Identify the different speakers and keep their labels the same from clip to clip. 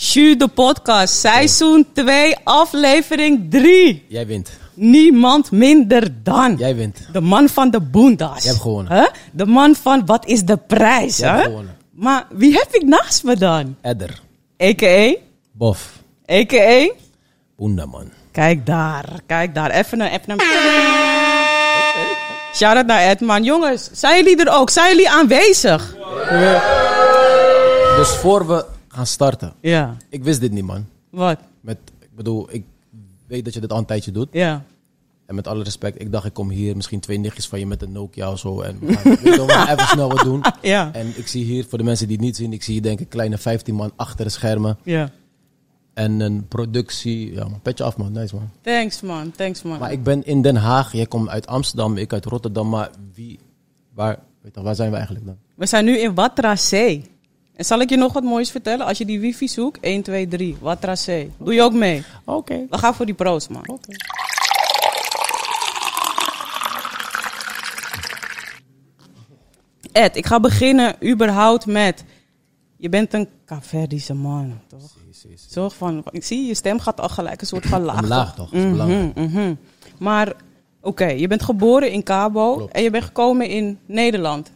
Speaker 1: Sju, de podcast, seizoen 2, aflevering 3.
Speaker 2: Jij wint.
Speaker 1: Niemand minder dan.
Speaker 2: Jij wint.
Speaker 1: De man van de boendas.
Speaker 2: Je hebt gewonnen.
Speaker 1: Hè? De man van wat is de prijs?
Speaker 2: Je hebt
Speaker 1: hè?
Speaker 2: gewonnen.
Speaker 1: Maar wie heb ik naast me dan?
Speaker 2: Edder.
Speaker 1: A.k.a.
Speaker 2: Bof.
Speaker 1: A.k.a.
Speaker 2: Boendaman.
Speaker 1: Kijk daar, kijk daar. Even een... Even een... Shout-out naar Edman. Jongens, zijn jullie er ook? Zijn jullie aanwezig?
Speaker 2: Dus voor we gaan starten.
Speaker 1: Ja.
Speaker 2: Ik wist dit niet, man.
Speaker 1: Wat?
Speaker 2: Met, ik bedoel, ik weet dat je dit al een tijdje doet.
Speaker 1: Ja.
Speaker 2: En met alle respect, ik dacht ik kom hier misschien twee nichtjes van je met een Nokia of zo. En we gaan, weet je wel, we gaan even snel wat doen.
Speaker 1: Ja.
Speaker 2: En ik zie hier, voor de mensen die het niet zien, ik zie hier denk ik kleine 15 man achter de schermen.
Speaker 1: Ja.
Speaker 2: En een productie. Ja, man, petje af, man. Nice, man.
Speaker 1: Thanks man, thanks man.
Speaker 2: Maar ik ben in Den Haag. Jij komt uit Amsterdam, ik uit Rotterdam. Maar wie, waar, weet je, waar zijn we eigenlijk dan?
Speaker 1: We zijn nu in Watra C. En zal ik je nog wat moois vertellen? Als je die wifi zoekt, 1, 2, 3, Watra C. Doe je ook mee.
Speaker 2: Oké.
Speaker 1: We gaan voor die pro's, man. Ed, ik ga beginnen überhaupt met... Je bent een Caverdische man, toch? Zorg van... Zie, je stem gaat al gelijk een soort van laag.
Speaker 2: Laag toch? Dat is belangrijk.
Speaker 1: Mhm, mhm. Maar, oké, je bent geboren in Cabo
Speaker 2: Klopt.
Speaker 1: en je bent gekomen in Nederland.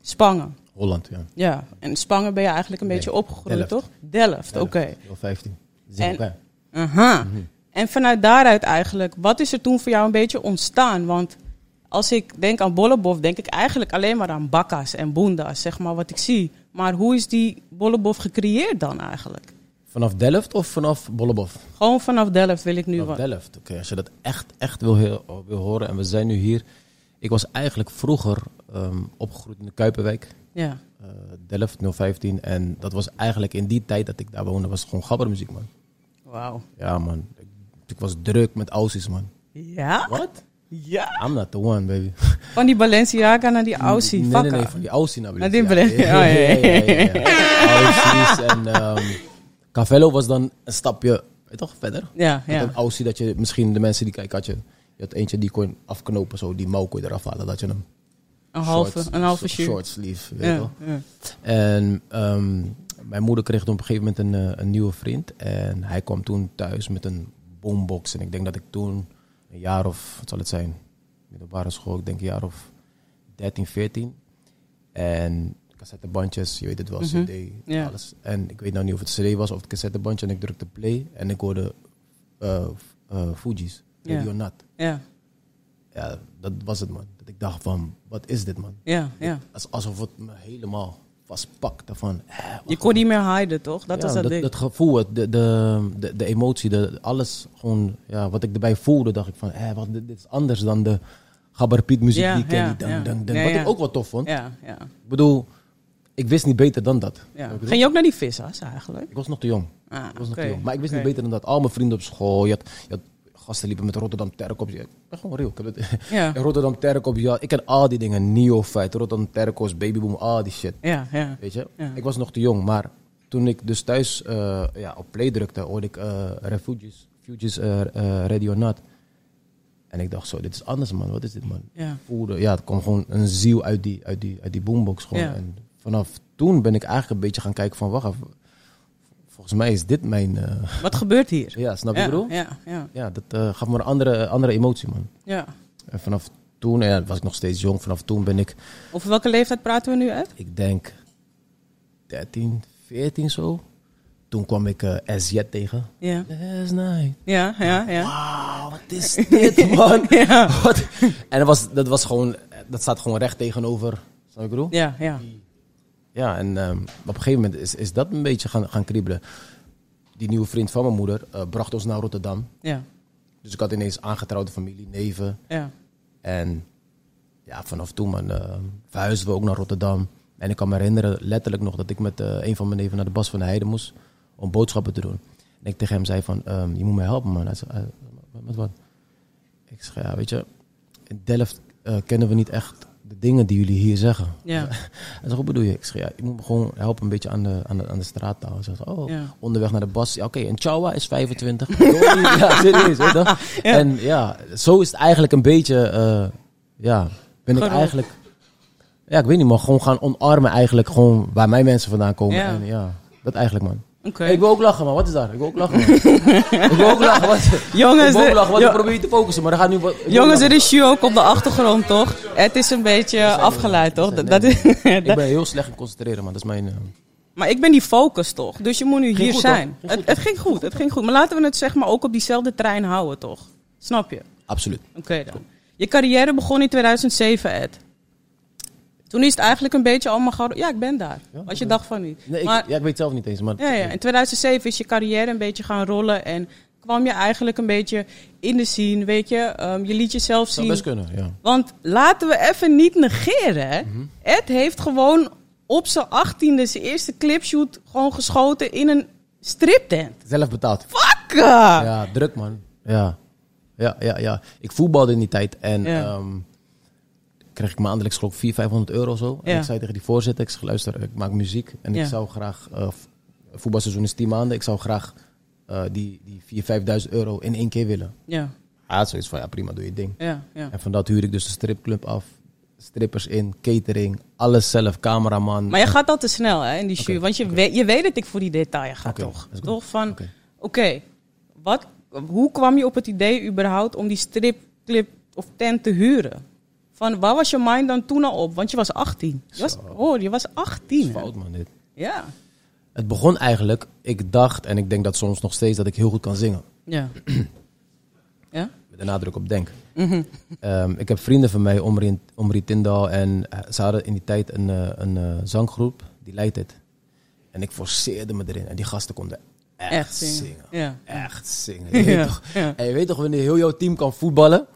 Speaker 1: Spangen.
Speaker 2: Holland, ja.
Speaker 1: Ja, en in Spangen ben je eigenlijk een
Speaker 2: Nee,
Speaker 1: beetje opgegroeid,
Speaker 2: Delft. Mhm.
Speaker 1: toch? Delft, oké.
Speaker 2: Of 15. Zien
Speaker 1: En-
Speaker 2: elkaar.
Speaker 1: Aha. En vanuit daaruit eigenlijk, wat is er toen voor jou een beetje ontstaan? Want als ik denk aan Bollebof, denk ik eigenlijk alleen maar aan bakka's en boenda's, zeg maar, wat ik zie. Maar hoe is die Bollebof gecreëerd dan eigenlijk?
Speaker 2: Vanaf Delft of vanaf Bollebof?
Speaker 1: Gewoon vanaf Delft wil ik nu
Speaker 2: Vanaf
Speaker 1: wat.
Speaker 2: Delft. Oké, als je dat echt, echt wil, heel- wil horen. En we zijn nu hier. Ik was eigenlijk vroeger ehm, opgegroeid in de Kuiperwijk.
Speaker 1: Ja.
Speaker 2: eh, Delft 015. En dat was eigenlijk in die tijd dat ik daar woonde, was het gewoon gabbermuziek, man.
Speaker 1: Wauw.
Speaker 2: Ja, man. Ik, ik was druk met Aussies, man.
Speaker 1: Ja?
Speaker 2: Wat?
Speaker 1: Ja.
Speaker 2: I'm not the one, baby.
Speaker 1: Van die Balenciaga naar die Aussie,
Speaker 2: Nee, nee, nee, van die Aussie naar
Speaker 1: Naar die
Speaker 2: Balenciaga.
Speaker 1: Balen-
Speaker 2: Ja,
Speaker 1: oh, ja, ja,
Speaker 2: ja, ja, ja. Aussies en ehm, Cavello was dan een stapje, weet je toch, verder.
Speaker 1: Ja,
Speaker 2: Met
Speaker 1: ja.
Speaker 2: een Aussie dat je misschien de mensen die kijken had je, je had eentje die kon afknopen zo, die mouw kon je eraf halen dat je hem
Speaker 1: Een halve,
Speaker 2: short-
Speaker 1: een halve
Speaker 2: short-
Speaker 1: shoe.
Speaker 2: short sleeve, weet je
Speaker 1: Ja,
Speaker 2: wel.
Speaker 1: ja.
Speaker 2: En ehm, mijn moeder kreeg toen op een gegeven moment een, eh, een nieuwe vriend en hij kwam toen thuis met een boombox en ik denk dat ik toen een jaar of wat zal het zijn, middelbare school, ik denk een jaar of 13, 14 en cassettebandjes, je weet het wel,
Speaker 1: Mhm.
Speaker 2: CD,
Speaker 1: Ja.
Speaker 2: alles. En ik weet nou niet of het CD was of het cassettebandje en ik drukte play en ik hoorde eh, f- eh, Fuji's,
Speaker 1: Ja.
Speaker 2: Radio Nat.
Speaker 1: Ja,
Speaker 2: Ja, dat was het man. Dat ik dacht van, wat is dit man?
Speaker 1: ja, ja.
Speaker 2: Als- alsof het me helemaal vastpakte van... eh, wacht
Speaker 1: Je kon niet meer hiden, toch? Dat
Speaker 2: ja,
Speaker 1: was dat,
Speaker 2: dat,
Speaker 1: ding.
Speaker 2: dat gevoel, het- de, de, de, de emotie, de, alles gewoon, ja, wat ik erbij voelde, dacht ik van, hé, wat, dit, dit is anders dan de gabberpiet muziek
Speaker 1: Ja,
Speaker 2: die ik ken.
Speaker 1: ja,
Speaker 2: die dang,
Speaker 1: ja.
Speaker 2: dang, dang.
Speaker 1: Ja,
Speaker 2: wat
Speaker 1: ja.
Speaker 2: ik ook wel tof vond.
Speaker 1: Ja, ja,
Speaker 2: Ik bedoel, ik wist niet beter dan dat.
Speaker 1: ja.
Speaker 2: Ik bedoel,
Speaker 1: Ging je ook naar die vissers eigenlijk?
Speaker 2: Ik was nog te jong.
Speaker 1: Ah,
Speaker 2: Ik was nog
Speaker 1: oké,
Speaker 2: te jong. Maar ik wist
Speaker 1: oké.
Speaker 2: niet beter dan dat. Al mijn vrienden op school, je had, je had gasten liepen met Rotterdam Terk op je. Ik ben gewoon real. Ik heb het,
Speaker 1: Ja.
Speaker 2: Rotterdam Terk op je. Ik ken al die dingen. Neofight, Rotterdam Terkos, Babyboom, al die shit.
Speaker 1: Ja, ja.
Speaker 2: Weet je?
Speaker 1: Ja.
Speaker 2: Ik was nog te jong, maar toen ik dus thuis eh, ja, op play drukte, hoorde ik eh, Refugees, Fugees eh, eh, Radio Nat. En ik dacht zo, dit is anders man, wat is dit man?
Speaker 1: Ja.
Speaker 2: Voelde, ja, het kwam gewoon een ziel uit die, uit die, uit die boombox gewoon.
Speaker 1: Ja.
Speaker 2: En vanaf toen ben ik eigenlijk een beetje gaan kijken van, wacht even, volgens mij is dit mijn... eh,
Speaker 1: Wat gebeurt hier?
Speaker 2: ja, snap je
Speaker 1: ja,
Speaker 2: wat ik bedoel? Ja,
Speaker 1: Ja, ja,
Speaker 2: dat eh, gaf me een andere, andere emotie man.
Speaker 1: ja.
Speaker 2: En vanaf toen, ja, was ik nog steeds jong, vanaf toen ben ik,
Speaker 1: Over welke leeftijd praten we nu, Ed?
Speaker 2: ik denk 13, 14 zo. Toen kwam ik eh, SJ tegen.
Speaker 1: Ja,
Speaker 2: Last night.
Speaker 1: ja, ja. ja.
Speaker 2: Wauw, Ah, wat is dit, man?
Speaker 1: Ja.
Speaker 2: Wat? En dat was, dat was gewoon, dat staat gewoon recht tegenover. Snap je wat ik bedoel?
Speaker 1: Ja, ja.
Speaker 2: Ja, en ehm, op een gegeven moment is, is dat een beetje gaan, gaan kriebelen. Die nieuwe vriend van mijn moeder eh, bracht ons naar Rotterdam.
Speaker 1: Ja,
Speaker 2: Dus ik had ineens aangetrouwde familie, neven.
Speaker 1: ja.
Speaker 2: En ja, vanaf toen man, eh, verhuisden we ook naar Rotterdam. En ik kan me herinneren letterlijk nog dat ik met eh, een van mijn neven naar de Bas van de Heide moest om boodschappen te doen. En ik tegen hem zei van, ehm, je moet mij helpen man. Hij zei, eh, met wat? Ik zei, ja weet je, in Delft eh, kennen we niet echt de dingen die jullie hier zeggen.
Speaker 1: Ja.
Speaker 2: Hij zei, wat bedoel je? Ik zei, ja, je moet me gewoon helpen een beetje aan de, aan de, aan de straattaal. Hij zei, oh,
Speaker 1: Ja.
Speaker 2: onderweg naar de Bas. Ja, oké, een Chawa is 25. ja, serieus. Weet je wel. En ja, zo is het eigenlijk een beetje, eh, ja, ben ik
Speaker 1: Gewoon-
Speaker 2: eigenlijk... Ja, ik weet niet, maar gewoon gaan omarmen eigenlijk gewoon waar mijn mensen vandaan komen.
Speaker 1: Ja.
Speaker 2: En ja, dat eigenlijk, man.
Speaker 1: Oké.
Speaker 2: Ik wil ook lachen, man. Wat is daar? Ik wil ook lachen, man. ik wil ook lachen. Wat,
Speaker 1: Jongens,
Speaker 2: ik wil ook
Speaker 1: de-
Speaker 2: lachen, want
Speaker 1: jo-
Speaker 2: ik probeer je te focussen, maar dan gaat nu wat... ik wil
Speaker 1: Jongens, er
Speaker 2: lachen.
Speaker 1: is Sjoe ook op de achtergrond, toch? Het is een beetje afgeleid, toch?
Speaker 2: zijn
Speaker 1: Dat, dat,
Speaker 2: Ik ben heel slecht in concentreren, man. Dat is mijn... eh,
Speaker 1: Maar ik ben die focus toch? Dus je moet nu hier
Speaker 2: goed,
Speaker 1: zijn.
Speaker 2: hoor. Ging
Speaker 1: Het, het ging goed, het ging goed. Maar laten we het zeg maar ook op diezelfde trein houden, toch? Snap je? Oké
Speaker 2: absoluut.
Speaker 1: dan. Je carrière begon in 2007, Ed. Toen is het eigenlijk een beetje allemaal gehouden. Ja, ik ben daar.
Speaker 2: Ja,
Speaker 1: Als je dacht van niet.
Speaker 2: Nee, ik,
Speaker 1: maar,
Speaker 2: ja, ik weet zelf niet eens, maar...
Speaker 1: ja, ja. In 2007 is je carrière een beetje gaan rollen. En kwam je eigenlijk een beetje in de scene, weet je. Ehm, je liet jezelf
Speaker 2: zou
Speaker 1: zien.
Speaker 2: best kunnen, ja.
Speaker 1: Want laten we even niet negeren. hè. Ed heeft gewoon op zijn achttiende zijn eerste clipshoot gewoon geschoten in een striptent.
Speaker 2: Zelf betaald.
Speaker 1: Fuck!
Speaker 2: Ja, druk man. Ja. Ja, ja, ja. Ik voetbalde in die tijd en
Speaker 1: Ja.
Speaker 2: ehm, kreeg ik maandelijks geloof ik 400, 500 euro of zo. En
Speaker 1: Ja.
Speaker 2: ik zei tegen die voorzitter, ik zeg, luister, ik maak muziek en
Speaker 1: Ja.
Speaker 2: ik zou graag, eh, v- voetbalseizoen is 10 maanden, ik zou graag eh, die, die 4.000, 5.000 euro in één keer willen.
Speaker 1: Ja,
Speaker 2: Hij had zoiets van, ja prima, doe je ding.
Speaker 1: ja, ja.
Speaker 2: En van dat huurde ik dus de stripclub af, strippers in, catering, alles zelf, cameraman.
Speaker 1: Maar je gaat al te snel hè, in die shoot.
Speaker 2: Oké,
Speaker 1: want je, weet, je weet dat ik voor die detail ga,
Speaker 2: Oké,
Speaker 1: toch?
Speaker 2: let's go.
Speaker 1: Toch van, oké,
Speaker 2: Oké.
Speaker 1: wat, hoe kwam je op het idee überhaupt om die stripclip of tent te huren? Van, waar was je mind dan toen al op? Want je was 18. Je was, hoor, je was 18. hè?
Speaker 2: Fout man dit.
Speaker 1: Ja.
Speaker 2: Het begon eigenlijk, ik dacht, en ik denk dat soms nog steeds, dat ik heel goed kan zingen.
Speaker 1: Ja. ja?
Speaker 2: Met de nadruk op denk.
Speaker 1: Mhm.
Speaker 2: Ehm, ik heb vrienden van mij, Omri, Omri Tindal, en eh, ze hadden in die tijd een, eh, een eh, zanggroep, die leidt het. En ik forceerde me erin en die gasten konden echt,
Speaker 1: Echt zingen.
Speaker 2: zingen.
Speaker 1: Ja.
Speaker 2: Echt zingen. Je weet
Speaker 1: Ja,
Speaker 2: toch,
Speaker 1: ja.
Speaker 2: En je weet toch, wanneer heel jouw team kan voetballen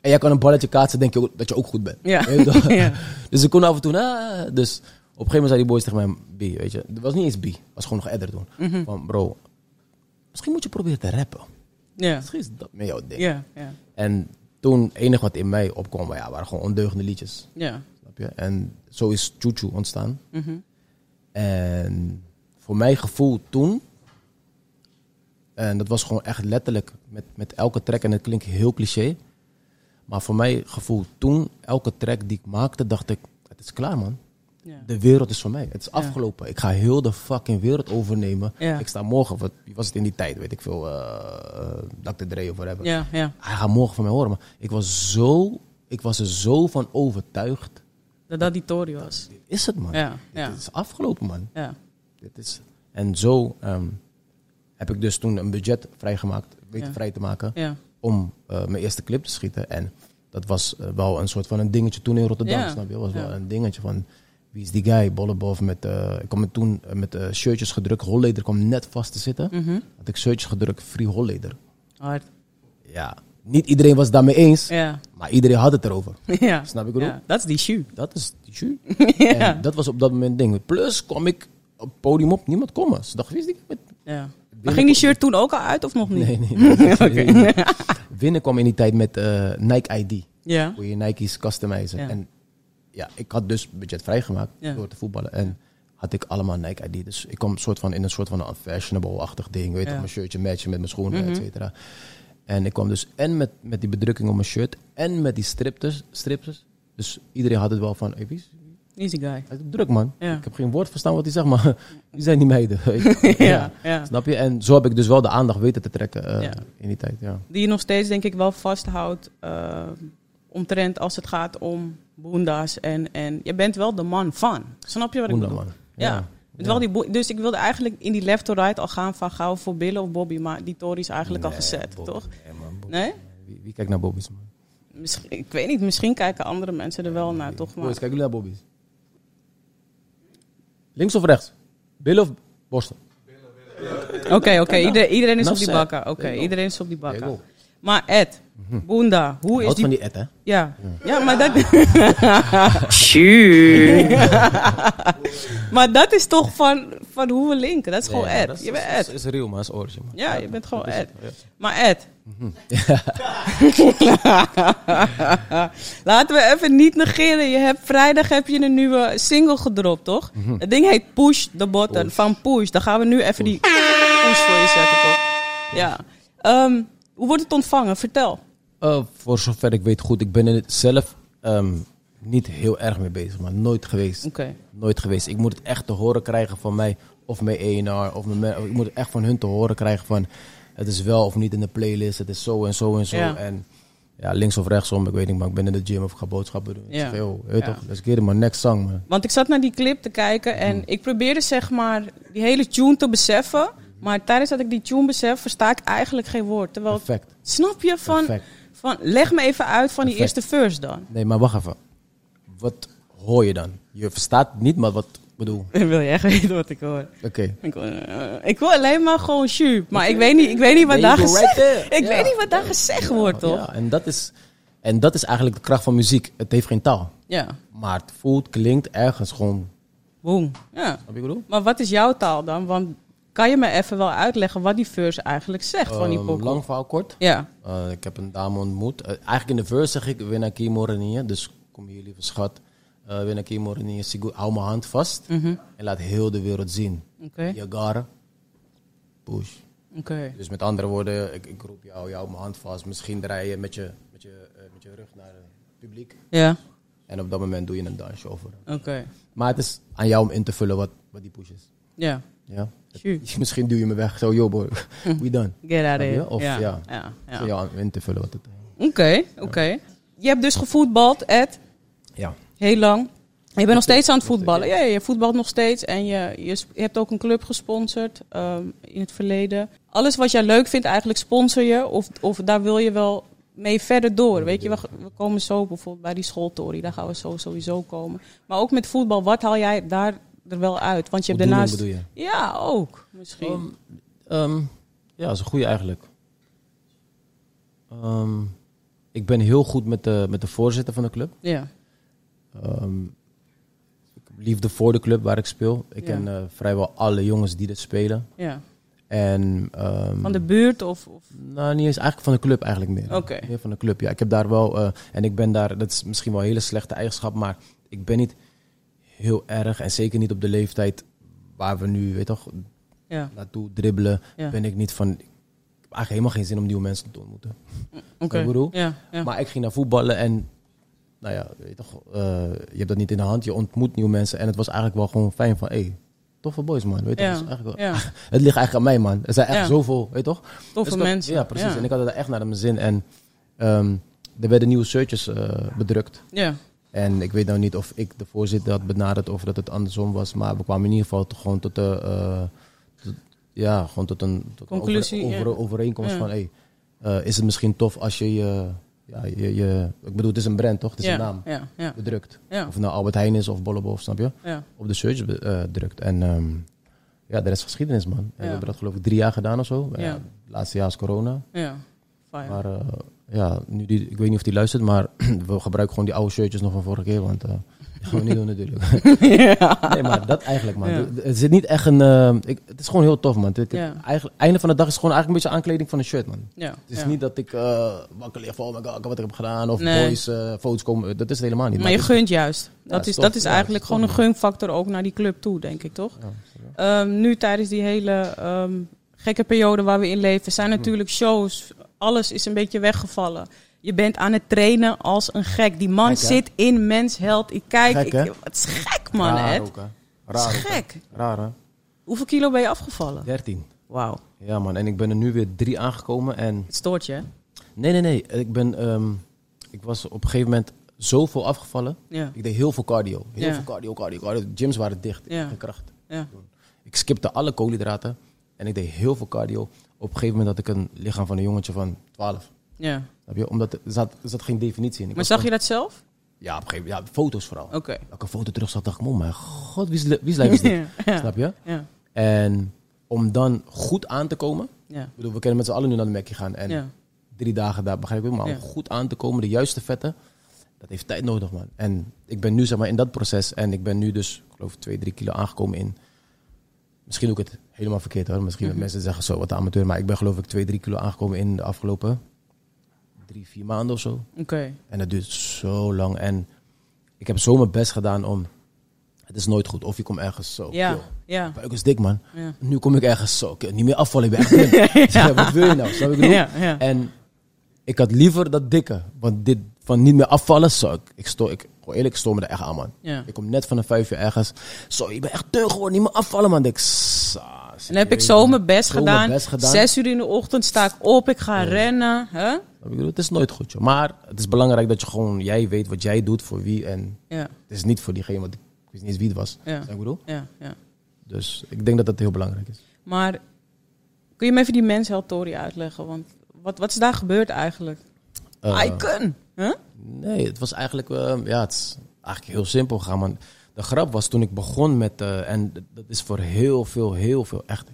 Speaker 2: en jij kan een balletje kaatsen, denk je ook dat je ook goed bent.
Speaker 1: Ja.
Speaker 2: Je weet toch?
Speaker 1: Ja.
Speaker 2: Dus ik kon af en toe, ah, dus op een gegeven moment zei die boys tegen mij, B, weet je. Het was niet eens B, het was gewoon nog Edder doen.
Speaker 1: Mhm.
Speaker 2: Van bro, misschien moet je proberen te rappen.
Speaker 1: Ja.
Speaker 2: Misschien is dat meer jouw ding.
Speaker 1: Ja. Ja.
Speaker 2: En toen, het enige wat in mij opkwam, ja, waren gewoon ondeugende liedjes.
Speaker 1: Ja.
Speaker 2: Snap je? En zo is Chuchu ontstaan.
Speaker 1: Mhm.
Speaker 2: En voor mijn gevoel toen, en dat was gewoon echt letterlijk met, met elke track, en het klinkt heel cliché, maar voor mijn gevoel toen, elke track die ik maakte, dacht ik, het is klaar man.
Speaker 1: Ja.
Speaker 2: De wereld is voor mij. Het is afgelopen. Ik ga heel de fucking wereld overnemen.
Speaker 1: Ja.
Speaker 2: Ik sta morgen, wat wie was het in die tijd, weet ik veel, eh Dr. Dre of whatever
Speaker 1: Ja. Ja.
Speaker 2: hij gaat morgen van mij horen. Maar ik was, zo, ik was er zo van overtuigd.
Speaker 1: Dat dat die Tory was.
Speaker 2: Dit is het, man.
Speaker 1: Ja,
Speaker 2: Dit
Speaker 1: ja.
Speaker 2: is afgelopen, man.
Speaker 1: Ja.
Speaker 2: Dit is... En zo ehm, heb ik dus toen een budget vrijgemaakt, weten
Speaker 1: Ja.
Speaker 2: vrij te maken,
Speaker 1: Ja.
Speaker 2: om eh, mijn eerste clip te schieten. En dat was eh, wel een soort van een dingetje toen in Rotterdam,
Speaker 1: Ja.
Speaker 2: snap je? Dat was wel
Speaker 1: Ja.
Speaker 2: een dingetje van, wie is die guy? Bollebov met, eh, ik kwam er toen eh, met eh, shirtjes gedrukt, holleder kwam net vast te zitten.
Speaker 1: Mhm.
Speaker 2: Had ik shirtjes gedrukt, free holleder.
Speaker 1: Hard.
Speaker 2: Ja, niet iedereen was het daarmee eens,
Speaker 1: Ja.
Speaker 2: maar iedereen had het erover.
Speaker 1: Ja.
Speaker 2: Snap ik wat ik
Speaker 1: Ja. Dat is die shoe.
Speaker 2: Dat is de jus.
Speaker 1: Ja.
Speaker 2: En dat was op dat moment het ding. Plus kwam ik op het podium op, niemand kon me. Ze dachten, wie is die? Met...
Speaker 1: Ja. Maar ging die shirt toen ook al uit of nog niet?
Speaker 2: Nee, nee. nee. Winnen kwam in die tijd met eh, Nike ID.
Speaker 1: Ja.
Speaker 2: Hoe je Nike's customizen.
Speaker 1: Ja.
Speaker 2: En ja, ik had dus budget vrijgemaakt
Speaker 1: Ja.
Speaker 2: door te voetballen. En had ik allemaal Nike ID. Dus ik kwam soort van in een soort van een fashionable-achtig ding. Weet je,
Speaker 1: Ja. Mhm.
Speaker 2: mijn shirtje matchen met mijn schoenen, et cetera. En ik kwam dus en met, met die bedrukking op mijn shirt. En met die stripters, stripters. Dus iedereen had het wel van, hey, wie is-
Speaker 1: Easy guy.
Speaker 2: Hij is druk, man.
Speaker 1: Ja.
Speaker 2: Ik heb geen woord verstaan wat hij zegt, maar die zijn niet meiden. weet je.
Speaker 1: Ja, ja.
Speaker 2: Snap je? En zo heb ik dus wel de aandacht weten te trekken eh,
Speaker 1: Ja.
Speaker 2: in die tijd. Ja.
Speaker 1: Die je nog steeds denk ik wel vasthoudt. eh, omtrent als het gaat om boenda's. En, en je bent wel de man van. Snap je wat ik
Speaker 2: Boenda,
Speaker 1: bedoel?
Speaker 2: man.
Speaker 1: Ja.
Speaker 2: Ja.
Speaker 1: Met wel die boe- dus ik wilde eigenlijk in die left to right al gaan van gauw voor Billen of Bobby. Maar die Tory is eigenlijk al
Speaker 2: Nee,
Speaker 1: gezet,
Speaker 2: Eh, Bobby,
Speaker 1: toch?
Speaker 2: nee, man, Bobby.
Speaker 1: Nee?
Speaker 2: Wie, wie kijkt naar Bobby's? Man?
Speaker 1: Misschien, ik weet niet, misschien kijken andere mensen er wel naar, toch? Maar
Speaker 2: Boys, kijken jullie naar Bobby's? Links of rechts? Billen of borsten?
Speaker 1: Oké, oké, ieder- iedereen is
Speaker 2: Nou,
Speaker 1: op die
Speaker 2: set.
Speaker 1: bakken. Oké,
Speaker 2: There you go.
Speaker 1: iedereen is op die
Speaker 2: There you
Speaker 1: bakken.
Speaker 2: go.
Speaker 1: Maar Ed, Boenda, hoe is
Speaker 2: Houdt
Speaker 1: die...
Speaker 2: van die et, hè?
Speaker 1: Ja. ja, maar dat... maar dat is toch van, van hoe we linken. Dat is gewoon
Speaker 2: Ja,
Speaker 1: Ed.
Speaker 2: dat is-
Speaker 1: je bent
Speaker 2: dat
Speaker 1: Ed.
Speaker 2: is, is real, man. Dat is origin, man.
Speaker 1: Ja, Mhm. je bent gewoon
Speaker 2: dat is
Speaker 1: Ed.
Speaker 2: het,
Speaker 1: Maar Ed. Laten we even niet negeren. Je hebt, vrijdag heb je een nieuwe single gedropt, toch? Het ding heet Mhm. Push the Button van Push. Dan gaan we nu even die push voor je zetten, toch? Ja. Ehm, hoe wordt het ontvangen? Vertel.
Speaker 2: Eh, voor zover ik weet goed. Ik ben er zelf ehm, niet heel erg mee bezig, maar nooit geweest.
Speaker 1: Oké.
Speaker 2: Nooit geweest. Ik moet het echt te horen krijgen van mij. Of mijn ENR. Of mijn, man- ik moet echt van hun te horen krijgen van... Het is wel of niet in de playlist. Het is zo en zo en zo.
Speaker 1: Ja.
Speaker 2: En ja, links of rechtsom. Ik weet niet, maar ik ben in de gym of ik ga boodschappen doen.
Speaker 1: Ja.
Speaker 2: Ik zeg, joh, weet
Speaker 1: Ja.
Speaker 2: toch? Let's get it, man. Next song, man.
Speaker 1: Want ik zat naar die clip te kijken en ik probeerde zeg maar die hele tune te beseffen. Maar tijdens dat ik die tune besef, versta ik eigenlijk geen woord. Terwijl,
Speaker 2: Perfect.
Speaker 1: snap je van,
Speaker 2: Perfect.
Speaker 1: van, leg me even uit van die
Speaker 2: Perfect.
Speaker 1: eerste verse dan.
Speaker 2: Nee, maar wacht even. Wat hoor je dan? Je verstaat niet, maar wat ik bedoel.
Speaker 1: Wil je echt weten wat ik hoor?
Speaker 2: Oké.
Speaker 1: Ik, wil- eh, ik wil alleen maar gewoon shoot. Maar ik weet niet, ik weet niet wat
Speaker 2: There
Speaker 1: daar
Speaker 2: you go, right
Speaker 1: gezegd
Speaker 2: there.
Speaker 1: Ik
Speaker 2: Ja.
Speaker 1: weet niet wat daar gezegd wordt, toch?
Speaker 2: Ja, en dat, is, en dat is eigenlijk de kracht van muziek. Het heeft geen taal.
Speaker 1: Ja.
Speaker 2: Maar het voelt, klinkt ergens gewoon.
Speaker 1: Boom. Ja.
Speaker 2: Wat ik bedoel?
Speaker 1: Maar wat is jouw taal dan? Want kan je me even wel uitleggen wat die verse eigenlijk zegt van die
Speaker 2: Ehm,
Speaker 1: pokoe?
Speaker 2: lang verhaal kort.
Speaker 1: Ja.
Speaker 2: Eh, ik heb een dame ontmoet. Eh, eigenlijk in de verse zeg ik, Winna Kimorenie. Dus kom hier, lieve schat. Eh Winna Kimorenie, Sigu- hou mijn hand vast. En laat heel de wereld zien.
Speaker 1: Mhm. Oké.
Speaker 2: Yagara, push.
Speaker 1: Oké.
Speaker 2: Dus met andere woorden, ik, ik roep jou, jou mijn hand vast. Misschien draai je met je, met je, eh, met je rug naar het publiek.
Speaker 1: Ja.
Speaker 2: En op dat moment doe je een dansje over.
Speaker 1: Oké.
Speaker 2: Maar het is aan jou om in te vullen wat, wat die push is.
Speaker 1: Ja.
Speaker 2: Ja?
Speaker 1: Sure.
Speaker 2: Misschien duw je me weg. Zo, yo boy, we done.
Speaker 1: Get out of
Speaker 2: Snap je?
Speaker 1: here.
Speaker 2: Of ja,
Speaker 1: ja. ja. ja.
Speaker 2: Voor jou om in te vullen wat het
Speaker 1: Oké. Oké. Je hebt dus gevoetbald, Ed,
Speaker 2: Ja.
Speaker 1: heel lang. Je bent nog steeds aan het voetballen. Ja, je voetbalt nog steeds en je, je sp- je hebt ook een club gesponsord ehm, in het verleden. Alles wat jij leuk vindt, eigenlijk sponsor je of, of daar wil je wel mee verder door. Weet je, we, g- we komen zo bijvoorbeeld bij die schooltory, daar gaan we zo sowieso komen. Maar ook met voetbal, wat haal jij daar er wel uit? Want je hebt
Speaker 2: Voldoening
Speaker 1: daarnaast...
Speaker 2: bedoel
Speaker 1: Ja, ook misschien.
Speaker 2: Ehm, ja, dat is een goede eigenlijk. Ehm, ik ben heel goed met de, met de voorzitter van de club.
Speaker 1: ja.
Speaker 2: Ehm, liefde voor de club waar ik speel. Ik
Speaker 1: Ja.
Speaker 2: ken eh, vrijwel alle jongens die dit spelen.
Speaker 1: ja.
Speaker 2: En, ehm,
Speaker 1: Van de buurt of... of...
Speaker 2: Nou, niet eens eigenlijk van de club eigenlijk meer.
Speaker 1: Oké.
Speaker 2: Meer van de club, ja. Ik heb daar wel... eh, en ik ben daar... Dat is misschien wel een hele slechte eigenschap, maar ik ben niet heel erg... en zeker niet op de leeftijd waar we nu, weet toch,
Speaker 1: Ja,
Speaker 2: naartoe dribbelen...
Speaker 1: Ja.
Speaker 2: ben ik niet van... Ik heb eigenlijk helemaal geen zin om nieuwe mensen te ontmoeten.
Speaker 1: oké.
Speaker 2: Ik bedoel,
Speaker 1: Ja, ja.
Speaker 2: Maar ik ging naar voetballen en... Nou ja, weet je toch, eh, je hebt dat niet in de hand. Je ontmoet nieuwe mensen. En het was eigenlijk wel gewoon fijn van... Hey, toffe boys, man. Weet je
Speaker 1: Ja,
Speaker 2: toch? Dat is eigenlijk wel-
Speaker 1: ja.
Speaker 2: Het ligt eigenlijk aan mij, man. Er zijn echt
Speaker 1: Ja.
Speaker 2: zoveel, weet je toch?
Speaker 1: Toffe
Speaker 2: Dus ik had-
Speaker 1: mensen.
Speaker 2: Ja, precies.
Speaker 1: Ja.
Speaker 2: En ik had het echt naar mijn zin. En ehm, er werden nieuwe shirtjes eh, bedrukt.
Speaker 1: ja.
Speaker 2: En ik weet nou niet of ik de voorzitter had benaderd of dat het andersom was. Maar we kwamen in ieder geval toch gewoon tot de... eh, tot- ja, gewoon tot een, tot een
Speaker 1: Conclusie,
Speaker 2: over-
Speaker 1: ja.
Speaker 2: over- overeenkomst
Speaker 1: Ja.
Speaker 2: van... Hey, eh, is het misschien tof als je je, ja, je, je... Ik bedoel, het is een brand, toch? Het is
Speaker 1: ja.
Speaker 2: een naam.
Speaker 1: Ja, ja,
Speaker 2: Bedrukt.
Speaker 1: ja.
Speaker 2: Of het nou Albert Heijn is of Bollebof, snap je?
Speaker 1: ja.
Speaker 2: Op de shirts be- eh, drukt. En ehm, ja, de rest is geschiedenis, man. En
Speaker 1: Ja.
Speaker 2: We hebben dat geloof ik drie jaar gedaan of zo.
Speaker 1: Ja.
Speaker 2: Ja. het laatste jaar is corona.
Speaker 1: Ja, fijn.
Speaker 2: Maar eh, ja, nu die, ik weet niet of die luistert, maar we gebruiken gewoon die oude shirtjes nog van vorige keer, want eh dat gaan we niet doen natuurlijk. nee, maar dat eigenlijk man.
Speaker 1: Ja.
Speaker 2: Het- Het zit niet echt een, eh, ik, het is gewoon heel tof man. Het, het-
Speaker 1: Ja.
Speaker 2: eigenlijk, einde van de dag is het gewoon eigenlijk een beetje aankleding van een shirt man.
Speaker 1: ja,
Speaker 2: Het is
Speaker 1: ja.
Speaker 2: niet dat ik eh wakker lig van, oh my god, wat ik heb gedaan, of
Speaker 1: Nee.
Speaker 2: boys, eh, foto's komen, dat is het helemaal niet.
Speaker 1: maar je
Speaker 2: het-
Speaker 1: gunt juist. Dat
Speaker 2: is
Speaker 1: is,
Speaker 2: tof.
Speaker 1: dat is
Speaker 2: Ja,
Speaker 1: eigenlijk
Speaker 2: is tof,
Speaker 1: gewoon een gunfactor ook naar die club toe, denk ik, toch?
Speaker 2: Ja, sorry.
Speaker 1: Ehm, nu tijdens die hele ehm, gekke periode waar we in leven, zijn
Speaker 2: Hm.
Speaker 1: natuurlijk shows. Alles is een beetje weggevallen. Je bent aan het trainen als een gek. Die man
Speaker 2: Gek, hè?
Speaker 1: zit in mens held. Ik kijk,
Speaker 2: Gek,
Speaker 1: ik,
Speaker 2: hè?
Speaker 1: het is gek man,
Speaker 2: Raar
Speaker 1: Ed.
Speaker 2: ook, hè.
Speaker 1: Het
Speaker 2: Raar
Speaker 1: is
Speaker 2: ook, hè.
Speaker 1: gek.
Speaker 2: Raar hè.
Speaker 1: Hoeveel kilo ben je afgevallen?
Speaker 2: 13.
Speaker 1: Wauw,
Speaker 2: Ja man, en ik ben er nu weer drie aangekomen en...
Speaker 1: het stoort je, hè?
Speaker 2: Nee, nee, nee. Ik, ben, ehm, ik was op een gegeven moment zoveel afgevallen.
Speaker 1: Ja,
Speaker 2: Ik deed heel veel cardio. Heel
Speaker 1: Ja.
Speaker 2: veel cardio, cardio, cardio. De gyms waren dicht. Ik
Speaker 1: Ja.
Speaker 2: had geen kracht.
Speaker 1: ja,
Speaker 2: Ik skipte alle koolhydraten. En ik deed heel veel cardio. Op een gegeven moment had ik een lichaam van een jongetje van 12.
Speaker 1: ja.
Speaker 2: Snap je? Omdat er zat, er zat geen definitie in. Ik
Speaker 1: Maar
Speaker 2: was
Speaker 1: zag je dat zelf?
Speaker 2: gewoon- Ja, op een gegeven moment. Ja, foto's vooral.
Speaker 1: Oké.
Speaker 2: Elke foto terug zat, dacht ik, "Mom, mijn god, wie is li- wie is lijf is dit?
Speaker 1: Ja.
Speaker 2: Snap je?
Speaker 1: Ja,
Speaker 2: En om dan goed aan te komen.
Speaker 1: ja,
Speaker 2: Ik bedoel, we kunnen met z'n allen nu naar de Mackie gaan. En
Speaker 1: ja.
Speaker 2: drie dagen daar, begrijp ik wel. Maar
Speaker 1: Ja.
Speaker 2: om goed aan te komen, de juiste vetten, dat heeft tijd nodig, man. En ik ben nu zeg maar in dat proces en ik ben nu dus, ik geloof, twee, drie kilo aangekomen in. Misschien doe ik het helemaal verkeerd hoor. Misschien
Speaker 1: Mhm.
Speaker 2: dat mensen zeggen zo, wat een amateur. Maar ik ben geloof ik twee, drie kilo aangekomen in de afgelopen drie, vier maanden of zo.
Speaker 1: Oké.
Speaker 2: En dat duurt zo lang. En ik heb zo mijn best gedaan om, het is nooit goed. Of je komt ergens zo,
Speaker 1: Ja,
Speaker 2: yo,
Speaker 1: ja,
Speaker 2: buik is dik man.
Speaker 1: ja.
Speaker 2: Nu kom ik ergens zo, ik niet meer afvallen. Ik ben echt dun. Zeg, Wat wil je nou? Snap je wat ik bedoel?
Speaker 1: Ja, ja.
Speaker 2: En ik had liever dat dikke. Want dit van niet meer afvallen, zo, ik, ik, sto, ik Gewoon eerlijk, ik stoor me er echt aan, man.
Speaker 1: Ja.
Speaker 2: Ik kom net van een vijf uur ergens. Zo, ik ben echt teug geworden, niet meer afvallen, man. Denk, ik, ah, sa,
Speaker 1: En heb ik
Speaker 2: serieus,
Speaker 1: zo
Speaker 2: man.
Speaker 1: mijn best
Speaker 2: Zo mijn
Speaker 1: gedaan.
Speaker 2: best gedaan.
Speaker 1: Zes uur in de ochtend sta ik op, ik ga rennen. Hè?
Speaker 2: Ik bedoel, het is nooit goed, joh. Maar het is belangrijk dat je gewoon, jij weet wat jij doet voor wie. En
Speaker 1: Ja,
Speaker 2: het is niet voor diegene, want ik wist niet eens wie het was.
Speaker 1: Ja.
Speaker 2: Snap je wat ik bedoel?
Speaker 1: ja, ja.
Speaker 2: Dus ik denk dat dat heel belangrijk is.
Speaker 1: Maar kun je me even die menseltorie uitleggen? Want wat, wat is daar gebeurd eigenlijk?
Speaker 2: Eh,
Speaker 1: Icon! Hè?
Speaker 2: Nee, het was eigenlijk, eh, ja, het is eigenlijk heel simpel gegaan. Man. De grap was toen ik begon met, eh, en d- dat is voor heel veel, heel veel, echt